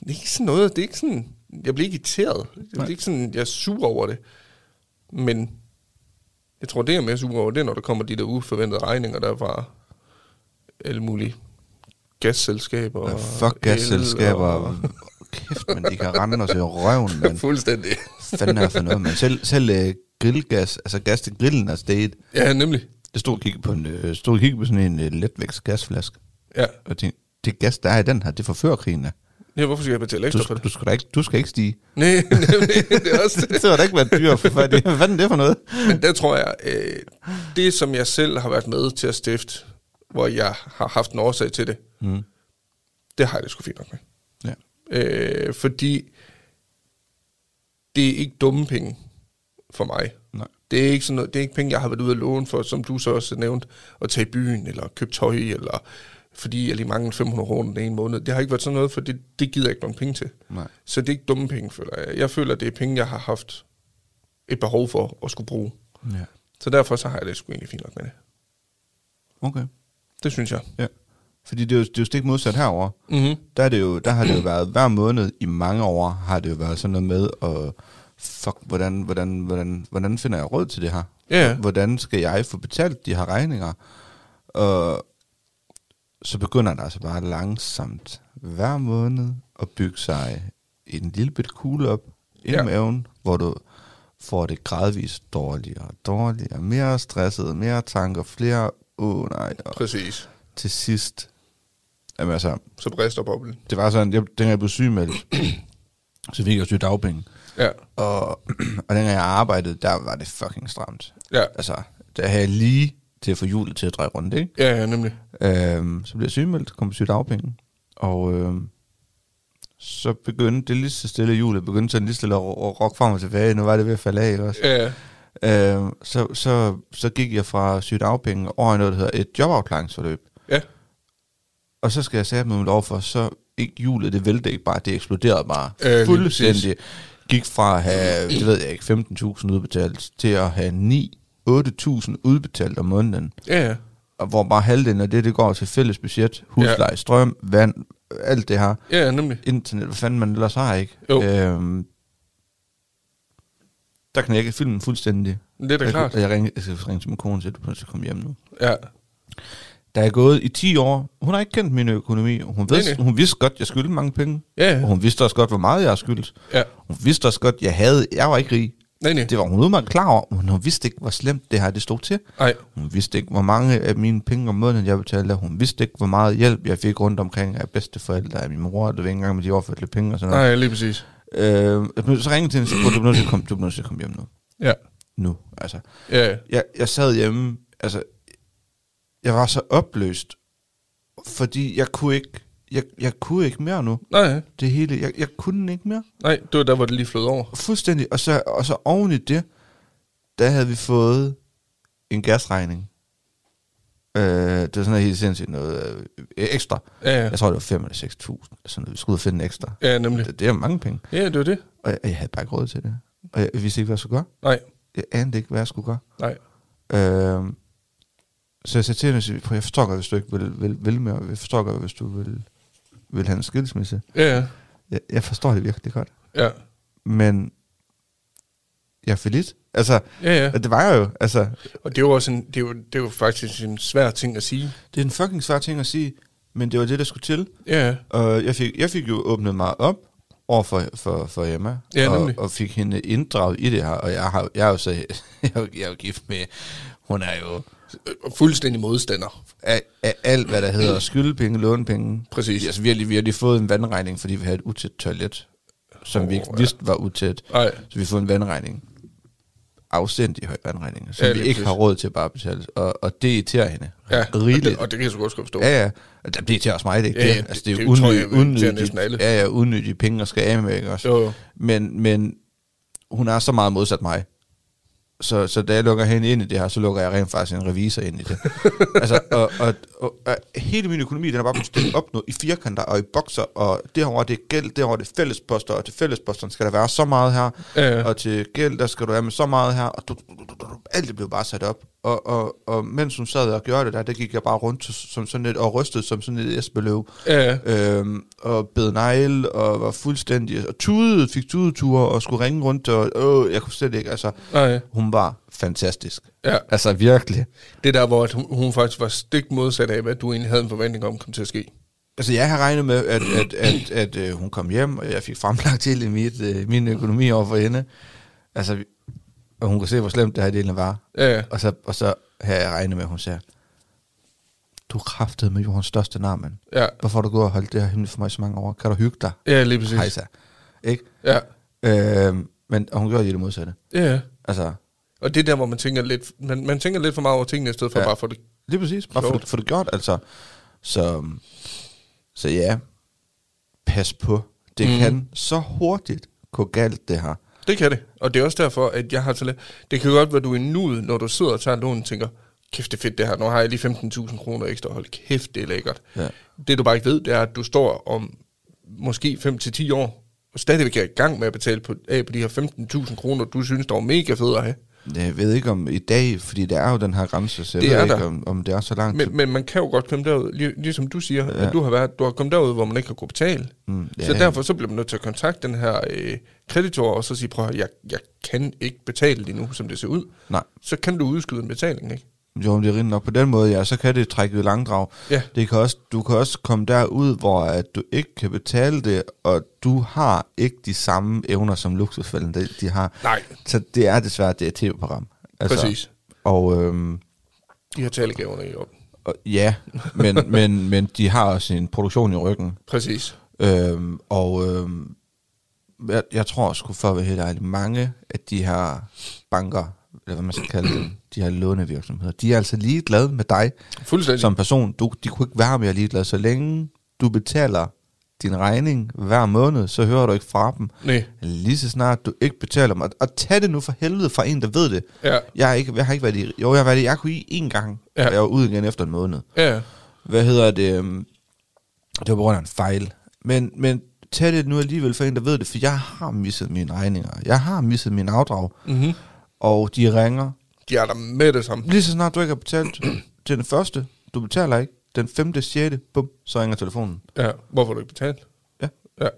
Det er ikke sådan noget, det er ikke sådan, jeg bliver ikke irriteret. Det er ikke sådan, jeg er sur over det. Men jeg tror, det jeg er mere sur over, det er, når der kommer de der uforventede regninger, der er fra alle mulige gasselskaber. Ja, og fuck el gasselskaber. og- (laughs) Kæft, men de kan rende os i røven, mand. Fuldstændig. fanden er for noget, mand. Selv, selv øh, grillgas, altså gas til grillen er steget. Ja, nemlig. Jeg stod og kiggede på, en, øh, stod og kiggede på sådan en øh, letvægts gasflaske, Ja. og tænkte, det gas, der er i den her, det forfører krigen af. ja, hvorfor skal jeg betale Du, ekstra for det? du, skal da ikke, du skal ikke (laughs) stige. (laughs) Nej, nemlig, det er også det. Altså, Det har da ikke været dyrt for fat i. Hvad fanden er det for noget? Men der tror jeg, øh, det som jeg selv har været med til at stifte, hvor jeg har haft en årsag til det, Mm. det har jeg det sgu fint nok med. Ja. Øh, fordi det er ikke dumme penge for mig. Nej. Det er, ikke sådan noget, det er ikke penge, jeg har været ude at låne for, som du så også nævnte, at tage i byen, eller købe tøj, eller fordi jeg lige mangler 500 kroner den ene måned. Det har ikke været sådan noget, for det, det gider jeg ikke nogen penge til. Nej. Så det er ikke dumme penge, føler jeg. Jeg føler, det er penge, jeg har haft et behov for at skulle bruge. Ja. Så derfor så har jeg det sgu egentlig fint nok med det. Okay. Det synes jeg. Ja. Fordi det er, jo, det er jo stik modsat herover. Mm-hmm. Der, er det jo, der har det jo været hver måned i mange år, har det jo været sådan noget med at fuck, hvordan, hvordan, hvordan, hvordan finder jeg råd til det her? Ja, Hvordan skal jeg få betalt de her regninger? Og så begynder der altså bare langsomt hver måned at bygge sig en lille bit kugle op ind i Ja. maven, hvor du får det gradvist dårligere og dårligere, mere stresset, mere tanker, flere åh oh, nej, og præcis. til sidst, jamen altså, Så brister boblen. det var sådan, jeg, dengang jeg blev sygemeldt, (clears throat) så fik jeg jo sygedagpenge. Ja, Og, (clears throat) og dengang jeg arbejdede, der var det fucking stramt. ja, Altså, der havde jeg lige til at få hjulet til at dreje rundt, ikke? ja, ja nemlig. Øhm, så blev jeg sygemeldt, kom på sygedagpenge, og øhm, så begyndte det lige så stille hjulet, begyndte sådan lige stille at ro- at rokke frem og tilbage, nu var det ved at falde af, ikke også? Ja, Øhm, så, så, så gik jeg fra sygedagpenge over i noget, der hedder et jobafklaringsforløb. ja, Og så skal jeg sætte mig over for, så ikke hjulet, det vælte ikke bare, det eksploderede bare Øh, lige øh, fuldstændig. Gik fra at have, det ved jeg ikke, 15.000 udbetalt, til at have 9 8.000 udbetalt om måneden. ja, ja. Og hvor bare halvdelen af det, det går til fælles budget, husleje, strøm, vand, alt det her. ja nemlig. Internet, hvad fanden man ellers har, ikke? Jo. Øhm, der knækkede filmen fuldstændig. Det er da jeg, klart. kunne- Jeg, ringede, jeg skal ringe til min kone, så du skal komme hjem nu. Ja, Der er gået i 10 år. Hun har ikke kendt min økonomi. Hun, Nej, ved, nej. hun vidste godt, jeg skyldte mange penge. ja, Og hun vidste også godt, hvor meget jeg har skyldt. ja. Hun vidste også godt, jeg havde... Jeg var ikke rig. Nej, nej. Det var hun udmærket klar over, men hun vidste ikke, hvor slemt det her det stod til. Nej, Hun vidste ikke, hvor mange af mine penge om måneden, jeg betalte. af. Hun vidste ikke, hvor meget hjælp jeg fik rundt omkring af bedsteforældre, af min mor, det var ikke engang med de overførte penge og sådan noget. nej, lige præcis. Øh, jeg blev- så ringede til hende, så du bliver nødt til at komme, du bliver nødt til at komme hjem nu. Ja, Nu, altså. ja, Jeg, jeg sad hjemme, altså, jeg var så opløst, fordi jeg kunne ikke, jeg, jeg kunne ikke mere nu. nej, Det hele, jeg, jeg kunne ikke mere. nej, det var der, hvor det lige flød over. Fuldstændig. Og så, og så oven i det, der havde vi fået en gasregning. Øh, det var sådan noget helt sindssygt noget øh, ekstra. Ja, ja, Jeg tror, det var 5 eller 6.000. eller Sådan noget. Vi skulle ud og finde en ekstra. ja nemlig. Det, det er mange penge. Ja, det var det. Og jeg, jeg havde bare ikke råd til det. Og jeg vidste ikke, hvad jeg skulle gøre. Nej, Jeg anede ikke, hvad jeg skulle gøre. nej, Øh, så jeg sagde til hende, at jeg prøv, jeg forstår godt, hvis du ikke vil, vil, vil mere. Jeg forstår godt, hvis du vil, vil have en skilsmisse. ja, ja, Jeg, jeg forstår det virkelig godt. ja, Men jeg er for lidt. Altså, ja, ja. Og det var jeg jo. Altså, Og det var, også en, det, var, det var faktisk en svær ting at sige. det er en fucking svær ting at sige, men det var det, der skulle til. Ja, ja, Og Øh, jeg fik, jeg fik jo åbnet mig op over for, for, for Emma, Ja, og, nemlig. og fik hende inddraget i det her. Og jeg, har, jo- jeg er jo så (laughs) jeg er jo, jeg er jo gift med, hun er jo Og fuldstændig modstander. af, af alt, hvad der (clears throat) hedder skyldepenge, lånepenge. Præcis. Altså, vi har lige, vi har lige fået en vandregning, fordi vi havde et utæt toilet, som oh, vi ikke Åh, ja. vidste var utæt. Nej, Så vi har fået en vandregning. afsendig høj vandregninger, som Ja, ja, vi lige ikke har præcis. råd til at bare betale. Og, og det irriterer hende Ja, og rigeligt. det, og det kan jeg så godt forstå. Ja, ja. Og Det irriterer også mig, det er ikke Ja, ja, ja, det. Altså, det er det- jo det tror jeg, unødigt, det irriterer unødigt, næsten alle. ja, ja, unødige penge at skal af med, ikke også? Jo, jo. Men, men hun er så meget modsat mig. Så, så da jeg lukker hende ind i det her, så lukker jeg rent faktisk en revisor ind i det. altså, og, og, og, og, hele min økonomi, den er bare blevet stillet op nu i firkanter og i bokser, og derovre det er gæld, derovre det er fællesposter, og til fællesposterne skal der være så meget her, Ja, ja. og til gæld, der skal du have med så meget her, og du, du, du, du, du, alt det blev bare sat op. Og, og, og mens hun sad og gjorde det der, der gik jeg bare rundt som sådan et, og rystede som sådan et esbeløv Ja, øhm, og bed negl, og var fuldstændig, og tudede, fik tudeture, og skulle ringe rundt, og åh, jeg kunne slet ikke, altså, nej. hun var fantastisk. Ja. Altså, virkelig. Det er der, hvor at hun, hun faktisk var stik modsat af, hvad du egentlig havde en forventning om, kom til at ske. Altså, jeg har regnet med, at, at, at, at, øh, hun kom hjem, og jeg fik fremlagt hele mit, øh, min økonomi over for hende. Altså, vi- og hun kunne se, hvor slemt det her delen var. Ja, ja. Og så, og så har jeg regnet med, at hun siger, du kraftede med jordens største nar, mand. Ja, Hvorfor har du gået og holdt det her hemmeligt for mig i så mange år? Kan du hygge dig? ja lige præcis. Hejsa. Ikke? Ja, Øhm, men og hun gjorde lige det modsatte. ja. Altså, Og det er der, hvor man tænker lidt, man, man tænker lidt for meget over tingene, i stedet for ja. Ja. bare for det. lige præcis. Bare for, Sjovt. det- for det gjort, altså. Så, så ja, pas på. Det Mhm. mm. kan så hurtigt gå galt, det her. Det kan det. Og det er også derfor, at jeg har så lidt... Det kan godt være, du er i nuet, når du sidder og tager lån og tænker, kæft det er fedt det her, nu har jeg lige 15.000 kroner ekstra, hold kæft det er lækkert. Ja. Det du bare ikke ved, det er, at du står om måske 5-10 år, og stadigvæk er i gang med at betale på, af på de her 15.000 kroner, du synes, der var mega fede at have. Jeg ved ikke om i dag, fordi der er jo den her grænse, så jeg Det ved er ikke, der. om, om det er så langt. Men, men man kan jo godt komme derud, lige, ligesom du siger, ja. at du har, været, du har kommet derud, hvor man ikke har kunnet betale. Mm, Ja. ja. Så derfor så bliver man nødt til at kontakte den her øh, kreditor, og så sige, prøv at høre, jeg, jeg kan ikke betale lige nu, som det ser ud. Nej, Så kan du udskyde en betaling, ikke? jo, men det er rimeligt nok på den måde, ja, så kan det trække i langdrag. Ja. Det kan også, du kan også komme derud, hvor at du ikke kan betale det, og du har ikke de samme evner, som luksusfælden de, de har. Nej, Så det er desværre det er et tv-program. altså. præcis. Og, øhm, De har talegaverne i orden. og ja, (laughs) men, men, men de har også en produktion i ryggen. Præcis. Øhm, og øhm, jeg, jeg tror sgu for at være helt ærlig, mange af de her banker, eller hvad man skal kalde dem, de her lånevirksomheder, de er altså ligeglade med dig Fuldstændig. som person. Du, de kunne ikke være mere ligeglade, så længe du betaler din regning hver måned, så hører du ikke fra dem. Nej. Lige så snart du ikke betaler dem. Og, og tag det nu for helvede fra en, der ved det. Ja. Jeg, er ikke, jeg har ikke været i... Jo, jeg har været i RKI en gang, Ja. ja. og jeg var ude igen efter en måned. Ja. Hvad hedder det? øhm, Det var på grund af en fejl. Men, men tag det nu alligevel for en, der ved det, for jeg har misset mine regninger. Jeg har misset mine afdrag. Mm-hmm. Og de ringer. De er der med det samme. Lige så snart du ikke har betalt (clears throat) til den første, du betaler ikke. Den femte, sjette, bum, så ringer telefonen. Ja. Hvorfor har du ikke betalt? Ja. Ja.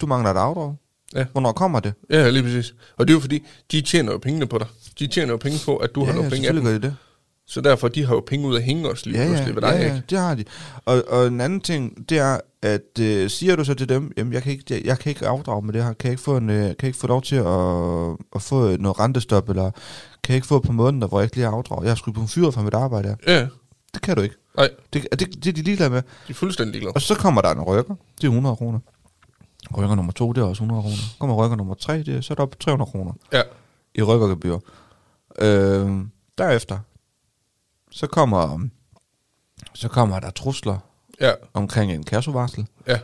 Du mangler et afdrag. Ja. Hvornår kommer det? Ja, lige præcis. Og det er jo fordi, de tjener jo pengene på dig. De tjener jo penge på, at du ja, har ja, noget penge af selvfølgelig dem. gør de det. Så derfor, de har jo penge ud af hænge også lige ja, pludselig ved dig, ja, ja, ja, ikke? det har de. Og, og en anden ting, det er, at øh, siger du så til dem, jamen jeg kan ikke, jeg, jeg kan ikke afdrage med det her, kan jeg ikke få, en, øh, kan jeg ikke få lov til at, at få noget rentestop, eller kan jeg ikke få et par måneder, hvor jeg ikke lige har afdrag. Jeg har sgu blevet fyret fra mit arbejde her. Ja. Det kan du ikke. Nej, Det, det, det er de ligeglade med. de er fuldstændig ligeglade. Og så kommer der en rykker, det er 100 kroner. Rykker nummer to, det er også 100 kroner. Kommer rykker nummer tre, det er, så er der op på 300 kroner Ja. i rykkergebyr. Øh, derefter, så kommer, så kommer der trusler Ja. omkring en kassovarsel. Ja.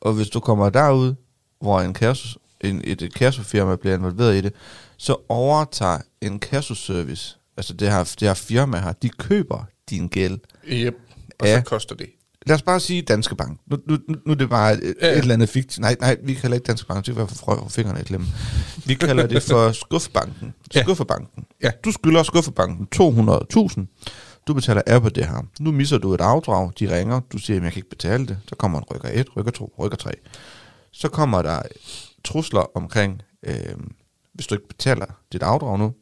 Og hvis du kommer derud, hvor en kasso, en, et kassofirma bliver involveret i det, så overtager en kassoservice, altså det her, det her firma her, de køber din gæld. Yep. Og ja. Ja. så koster det. Lad os bare sige Danske Bank. Nu, nu, nu- nu er det bare et, Ja. ja. et eller andet fiktivt. Nej, nej, vi kalder ikke Danske Bank. Det er for frø og fingrene i klemme. Vi kalder det (laughs) for Skuffebanken. Ja. Skuffebanken. Ja. Du skylder Skuffebanken 200.000. Du betaler af på det her. Nu misser du et afdrag. De ringer. Du siger, at jeg kan ikke betale det. Så kommer en rykker 1, rykker 2, rykker 3. Så kommer der trusler omkring, øh, hvis du ikke betaler dit afdrag nu,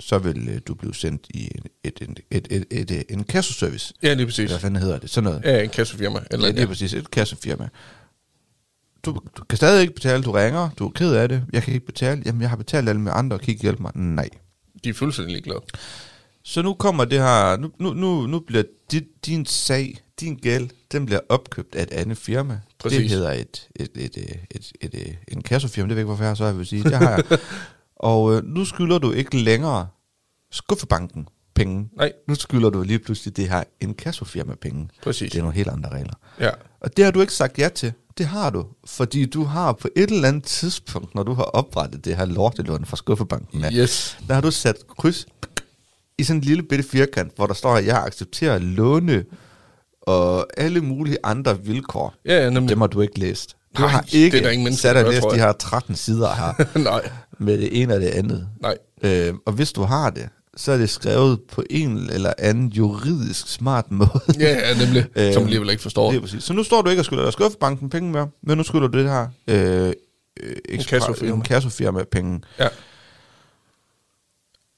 så vil øh, du blive sendt i et, et, et, et, et, et, en kassoservice. Ja, lige præcis. Eller hvad fanden hedder det? Sådan noget. Ja, en kassefirma. Eller Eller lige ja. præcis et kassefirma. Du, du kan stadig ikke betale, du ringer, du er ked af det, jeg kan ikke betale, jamen jeg har betalt alle mine andre, kan I ikke hjælpe mig? Nej. De er fuldstændig ligeglade. Så nu kommer det her, nu, nu, nu, nu bliver dit, din sag, din gæld, den bliver opkøbt af et andet firma. Præcis. (laughs) Det hedder et, et, et, et, et, et, et en kassefirma, det ved jeg ikke, hvorfor jeg har, så jeg vil sige, det har jeg. Og øh, nu skylder du ikke længere skuffebanken penge. Nej. Nu skylder du lige pludselig det her inkassofirma penge. Præcis. Det er nogle helt andre regler. Ja. Og det har du ikke sagt ja til. Det har du, fordi du har på et eller andet tidspunkt, når du har oprettet det her lortelån fra skuffebanken, af, Yes. der har du sat kryds i sådan en lille bitte firkant, hvor der står, at jeg accepterer låne og alle mulige andre vilkår. Ja, ja, nemlig. Dem har du ikke læst. Du Nej, har det er ikke der ingen mennesker, sat og der gør, læst tror de jeg. her 13 (laughs) sider her (laughs) Nej. med det ene og det andet. Nej. Øh, og hvis du har det, så er det skrevet på en eller anden juridisk smart måde. Ja, ja, nemlig. Øh, Som alligevel ikke forstår. Lige præcis. Så nu står du ikke og skylder dig skuffebanken penge mere, men nu skylder du det her øh, øh, Inkassofirma. inkassofirma penge. Ja.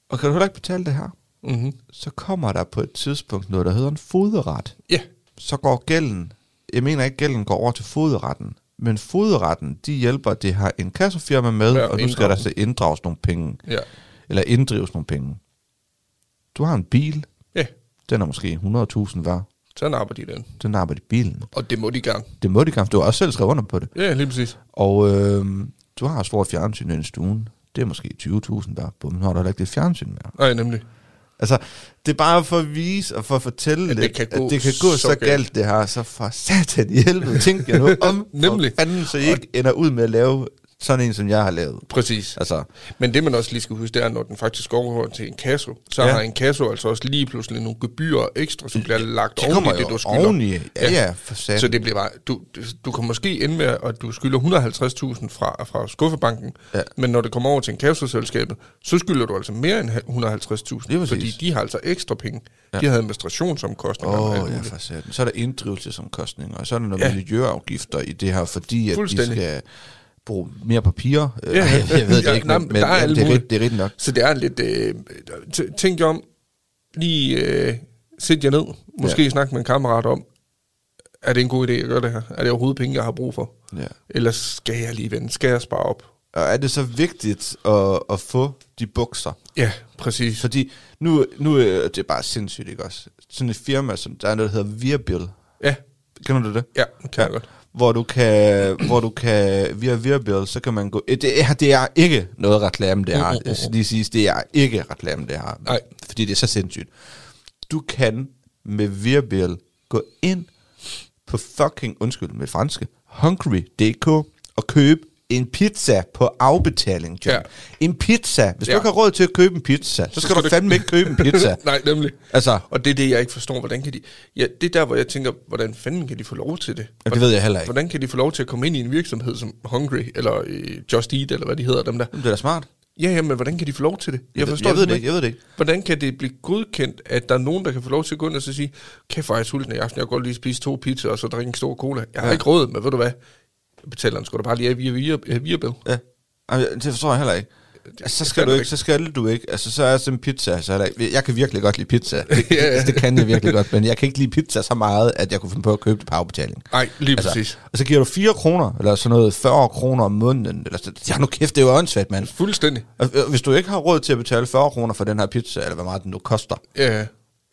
Og kan du heller ikke betale det her, Mm-hmm. så kommer der på et tidspunkt noget, der hedder en foderet. Ja. Så går gælden, jeg mener ikke, gælden går over til foderetten, men foderetten, de hjælper det her inkassofirma med, Med ja, at og nu skal inddrage der så inddrages nogle penge, Ja. eller inddrives nogle penge. Du har en bil, Ja. den er måske 100.000 værd, Så napper de den. den arbejder i bilen. Og det må de gerne. Det må de gerne, du har også selv skrevet under på det. Ja, lige præcis. Og øh, du har et stort fjernsyn i stuen. Det er måske 20.000 der. Bum, nu har du heller ikke det fjernsyn mere. Nej, nemlig. Altså, det er bare for at vise og for at fortælle At det lidt, kan at gå det kan gå så så, så galt. galt. det her. Så for satan i helvede, tænk (laughs) jeg nu om. Nemlig. For fanden, så I ikke ender ud med at lave sådan en, som jeg har lavet. Præcis. Altså, Men det, man også lige skal huske, det er, når den faktisk går over til en kasse, så Ja. ja. har en kasse altså også lige pludselig nogle gebyrer ekstra, som bliver lagt det oven kommer i det, jo du skylder. oveni. Ja, ja, for satan. Så det bliver bare, du, du kan måske ende med, at du skylder 150.000 fra, fra skuffebanken, Ja. ja. men når det kommer over til en kasseselskabet, så skylder du altså mere end Lige 150.000, præcis. fordi de har altså ekstra penge. Ja. De havde administrationsomkostninger. og alt Åh, oh, ja, muligt. for satan. Så er der inddrivelsesomkostninger, og så er der nogle ja. Ja. miljøafgifter i det her, fordi at de Fuldstændig. skal bruge mere papir. Ja, Ja, ja. (laughs) jeg ved det Ja, ikke, nej, men, men men der er jamen, alt det, er, muligt. rigt- det er rigtigt nok. Så det er lidt, øh, t- tænk jer om, lige øh, sæt jer ned, måske Ja. ja. snak med en kammerat om, er det en god idé at gøre det her? Er det overhovedet penge, jeg har brug for? Ja. Eller skal jeg lige vende? Skal jeg spare op? Og er det så vigtigt at, at få de bukser? Ja, præcis. Fordi nu, nu øh, det er bare sindssygt, ikke også? Sådan et firma, som der er noget, der hedder Virbil. Ja, Kender du det? ja, det kan jeg godt. Hvor du kan, hvor du kan via Virbil, så kan man gå... Eh, Det er, det er ikke noget reklame, Mm, det her. Jeg skal lige sige, det er ikke reklame, det her. Nej. Fordi det er så sindssygt. Du kan med Virbil gå ind på fucking, undskyld med franske, Hungry.dk og købe en pizza på afbetaling, John. Ja. Ja. En pizza. Hvis ja. Ja. du ikke har råd til at købe en pizza, så skal du fandme ikke købe en pizza. (laughs) Nej, nemlig. Altså, Og det er det, jeg ikke forstår. Hvordan kan de... Ja, det er der, hvor jeg tænker, hvordan fanden kan de få lov til det? og det ved jeg heller ikke. Hvordan kan de få lov til at komme ind i en virksomhed som Hungry, eller øh, Just Eat, eller hvad de hedder, dem der? Det er da smart. Ja, ja, men hvordan kan de få lov til det? Jeg, jeg ved det ikke, jeg ved det ikke. Hvordan kan det blive godkendt, at der er nogen, der kan få lov til at gå ind og så sige, kæft, hvor er jeg sulten i aften, jeg kan godt lige spise to pizzaer og så drikke en stor cola. Jeg har Ja. ja. ikke råd, men ved du hvad? Jeg betaler den sgu da bare lige af via, via, via, via bill. Ja. Jamen, det forstår jeg heller ikke. Altså, så skal fatter du det ikke, ikke. så skal du ikke. Altså, så er sådan en pizza, så er der ikke. Jeg kan virkelig godt lide pizza. (laughs) Det, det, det, kan jeg virkelig godt, men jeg kan ikke lide pizza så meget, at jeg kunne finde på at købe det på afbetaling. Nej, lige altså, Altså, præcis. og så giver du 4 kroner, eller sådan noget 40 kroner om måneden. Eller så, ja, nu kæft, det er jo åndssvagt, mand. Fuldstændig. Og øh, hvis du ikke har råd til at betale 40 kroner for den her pizza, eller hvor meget den nu koster, Ja,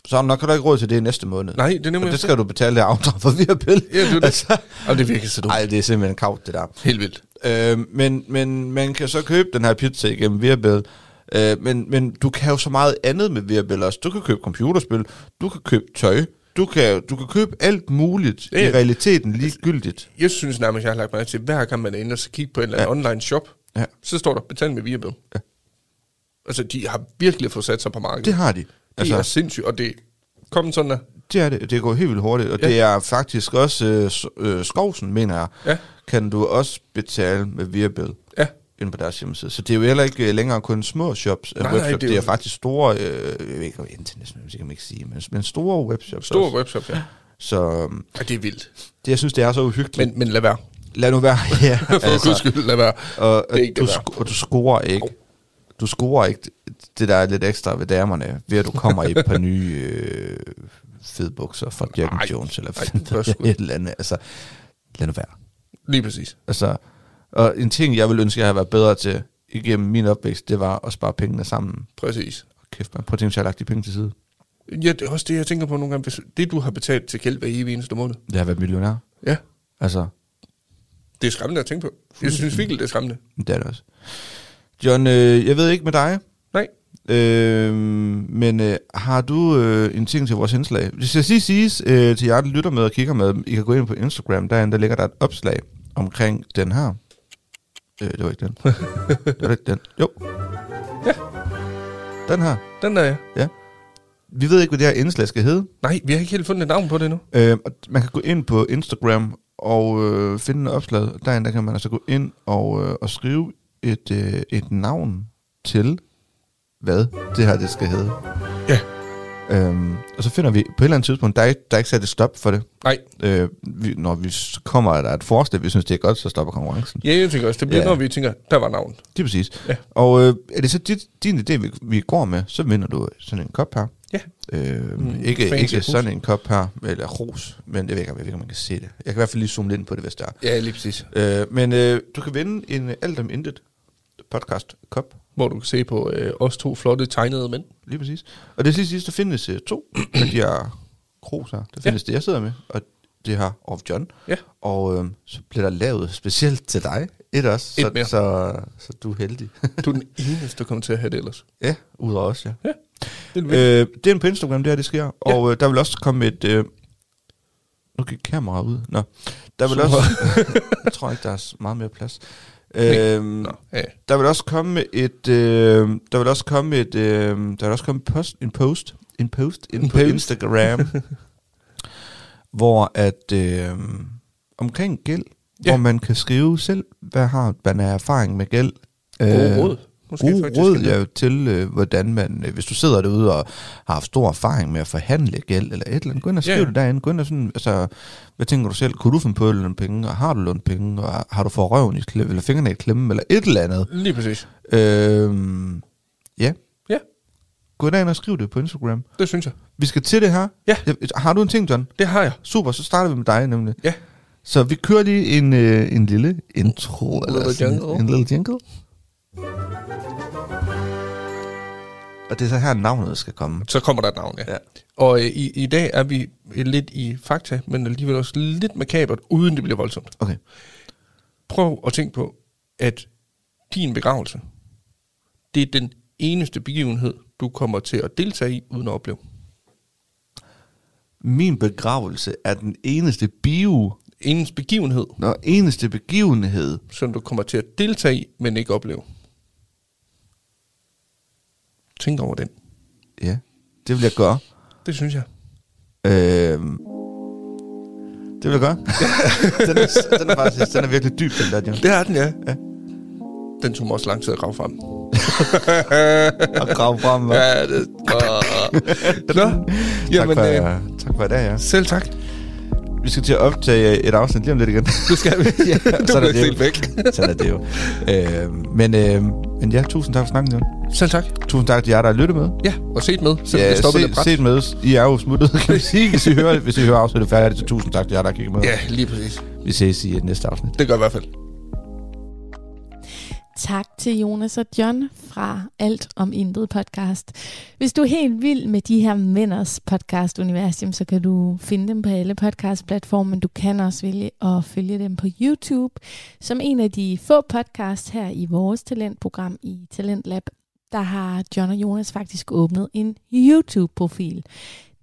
så har du nok heller ikke råd til det i næste måned. Nej, det er nemlig Og det også skal du betale det her afdrag for via pille. ja det er det. Altså, og det virker så dumt. Nej, det er simpelthen kavt, det der. Helt vildt. Øh, men, men man kan så købe den her pizza igennem Virbel. Øh, men, men du kan jo så meget andet med Virbel også. Du kan købe computerspil, du kan købe tøj, du kan, du kan købe alt muligt Ja, i ja. realiteten ligegyldigt. Jeg synes nærmest, jeg har lagt mærke til, hver gang man er inde og så kigge på en eller anden ja. online shop, Ja. ja. så står der, betal med via bill. Ja. Altså, de har virkelig fået sat sig på markedet. Det har de. altså, Altså, det er sindssygt, og det kom sådan der. det er det. Det går helt vildt hurtigt, og ja. Ja. det er faktisk også øh, s- øh, Skovsen, mener jeg, Ja. kan du også betale med Virbel. Ja, inde på deres hjemmeside. Så det er jo heller ikke øh, længere kun små shops. Nej, Nej, webshop. nej, det, det er er det er jo- faktisk store, øh, jeg ved ikke om internationale, det kan man ikke sige, men, men store webshops stor også. webshop, ja. Så øhm, ja. det er vildt. det, jeg synes, det er så uhyggeligt. Men, men lad være. Lad nu (laughs) være. (laughs) ja, For altså, guds skyld, lad være. og, og, det er ikke du, det værd. sk- og du scorer ikke. Du scorer ikke det, der er lidt ekstra ved damerne, ved at du kommer i et par (laughs) nye øh, fede bukser fra Jack and Nej, Jones, eller nej, fandt det er sgu et eller andet. Altså, lad nu være. Lige præcis. Altså, og en ting, jeg ville ønske, jeg havde været bedre til igennem min opvækst, det var at spare pengene sammen. Præcis. Kæft, man. Prøv at tænke, hvis jeg har lagt de penge til side. Ja, det er også det, jeg tænker på nogle gange. Hvis det, du har betalt til gæld hver evig eneste måned. Jeg har været millionær. Ja, Altså, det er skræmmende at tænke på. Jeg synes virkelig, det er skræmmende. det er det også. John, øh, jeg ved ikke med dig. Nej. Øh, men øh, har du øh, en ting til vores indslag? Det skal lige siges øh, til jer, der lytter med og kigger med. I kan gå ind på Instagram, derinde, der ligger der et opslag omkring den her. Øh, det var (laughs) ikke den. det var ikke den. Jo. Ja. Den her. Den der, ja. Vi ved ikke, hvad det her indslag skal hedde. Nej, vi har ikke helt fundet et navn på det endnu. Øh, og man kan gå ind på Instagram og øh, finde en opslag. Derinde der kan man altså gå ind og, øh, og skrive et, øh, et navn til, hvad det her det skal hedde. Ja. Øhm, og så finder vi på et eller andet tidspunkt, der er, ikke- der er ikke sat et stop for det. Nej. Øh, vi, når vi s- kommer, at der er et forslag, vi synes, det er godt, så stopper konkurrencen. Ja, jeg tænker også, det bliver, Ja. ja. når vi tænker, der var navn. Det er præcis. Ja. Og øh, er det så dit, din idé, vi, vi går med, så vinder du sådan en kop her. Ja. Øh, Mm, ikke fancy ikke ros. sådan en kop her, eller ros, men det ved jeg ikke, om- jeg ved ikke, om man kan se det. Jeg kan i hvert fald lige zoome lidt ind på det, hvis det er. Ja, lige præcis. Øh, men øh, du kan vinde en øh, alt om intet podcast kop, Hvor du kan se på øh, os to flotte tegnede mænd. lige præcis. Og det sidste, sidste der findes øh, to af de her kros her. Der findes ja. det, jeg sidder med, og det her of John. Ja. Og øh, så bliver der lavet specielt til dig et også, Et så, mere. så, så du er heldig. Du er (laughs) den eneste, der kommer til at have det ellers. ja, ud af os, ja. Det er øh, Øh, det er på Instagram, der det sker. Og øh, der vil også komme et... Øh, nu gik kameraet ud. Nå. Der vil Så- også... (laughs) jeg tror ikke, der er så meget mere plads. Øh, Nå, ja. der vil også komme et... Øh, der vil også komme et... Øh, der vil også komme post, en post. En post inde En på post. (laughs) Instagram. hvor at... Øh, omkring gæld. Ja. Ja. Hvor man kan skrive selv, hvad har man af erfaring med gæld. Øh, Øh, Gode råd. Måske Måske gode faktisk råd en- ja, til, øh, hvordan man, øh, hvis du sidder derude og har haft stor erfaring med at forhandle gæld eller et eller andet, gå ind og Ja, skriv ja. det derinde, gå ind og sådan, altså, hvad tænker du selv, kunne du finde på at låne penge, og har du lånt penge, og har du fået røven i klemme, eller fingrene i klemme, eller et eller andet. Lige præcis. Øhm, ja. Ja. Gå derind og skriv det på Instagram. Det synes jeg. Vi skal til det her. Ja. Har du en ting, John? Det har jeg. Super, så starter vi med dig nemlig. Ja. Så vi kører lige en, øh, en lille intro. Little sådan jingle. En lille jingle. Og det er så her, navnet skal komme. Så kommer der et navn, ja. Ja. ja. Og øh, i, i dag er vi lidt i fakta, men alligevel også lidt makabert, uden det bliver voldsomt. Okay. Prøv at tænke på, at din begravelse, det er den eneste begivenhed, du kommer til at deltage i, uden at opleve. Min begravelse er den eneste bio, Ingen begivenhed, og eneste begivenhed. som du kommer til at deltage i, men ikke opleve. Tænk over den. Ja, det vil jeg gøre. Det synes jeg. Øhm, det vil jeg (laughs) gøre. den, er, den, er faktisk, den er virkelig dyb, den der, John. Det er den, ja. ja. Den tog mig også lang tid at grave frem. Og grav frem. (laughs) hva'? Ja, det... Nå, tak, jamen, for, øh, øh, tak for i dag, ja. selv tak. Vi skal til at optage et afsnit lige om lidt igen. Det skal vi. (laughs) ja, Du (laughs) sådan er blev det jo. helt væk. (laughs) Sådan er det jo. Øh, men, øh, men ja, tusind tak for snakken, John. Selv tak. Tusind tak til jer, der har lyttet med. Ja, og set med. Selv ja, ja, stoppet se, lidt bræt. set med. I er (laughs) jo smuttet, kan man sige. Hvis I hører, hvis I hører afsnittet færdigt, så tusind tak til jer, der har kigget med. Ja, lige præcis. Vi ses i øh, næste afsnit. Det gør jeg i hvert fald. Tak til Jonas og John fra Alt om Intet podcast. Hvis du er helt vild med de her mænders podcast universum, så kan du finde dem på alle podcastplatforme, men du kan også vælge at følge dem på YouTube, som en af de få podcasts her i vores talentprogram i Talent Lab. Der har John og Jonas faktisk åbnet en YouTube-profil.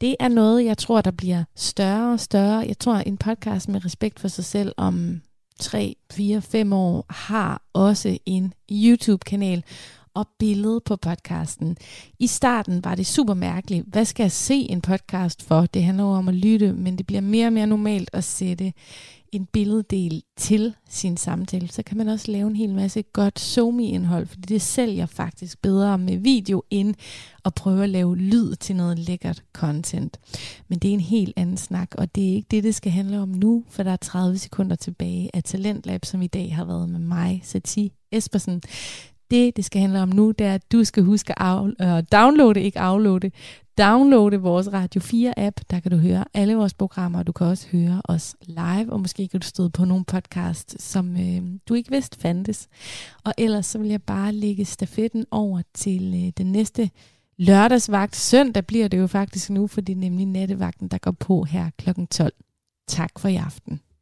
Det er noget, jeg tror, der bliver større og større. Jeg tror, en podcast med respekt for sig selv om 3, 4, 5 år har også en YouTube-kanal og billede på podcasten. I starten var det super mærkeligt. Hvad skal jeg se en podcast for? Det handler jo om at lytte, men det bliver mere og mere normalt at sætte en billeddel til sin samtale. Så kan man også lave en hel masse godt somi-indhold, fordi det sælger faktisk bedre med video end at prøve at lave lyd til noget lækkert content. Men det er en helt anden snak, og det er ikke det, det skal handle om nu, for der er 30 sekunder tilbage af Talentlab, som i dag har været med mig, Sati Espersen. Det, det skal handle om nu, det er, at du skal huske at af, øh, downloade, ikke afloade, downloade vores Radio 4-app. Der kan du høre alle vores programmer, og du kan også høre os live, og måske kan du støde på nogle podcast, som øh, du ikke vidste fandtes. Og ellers så vil jeg bare lægge stafetten over til øh, den næste lørdagsvagt. Søndag bliver det jo faktisk nu, for det er nemlig nattevagten, der går på her kl. 12. Tak for i aften.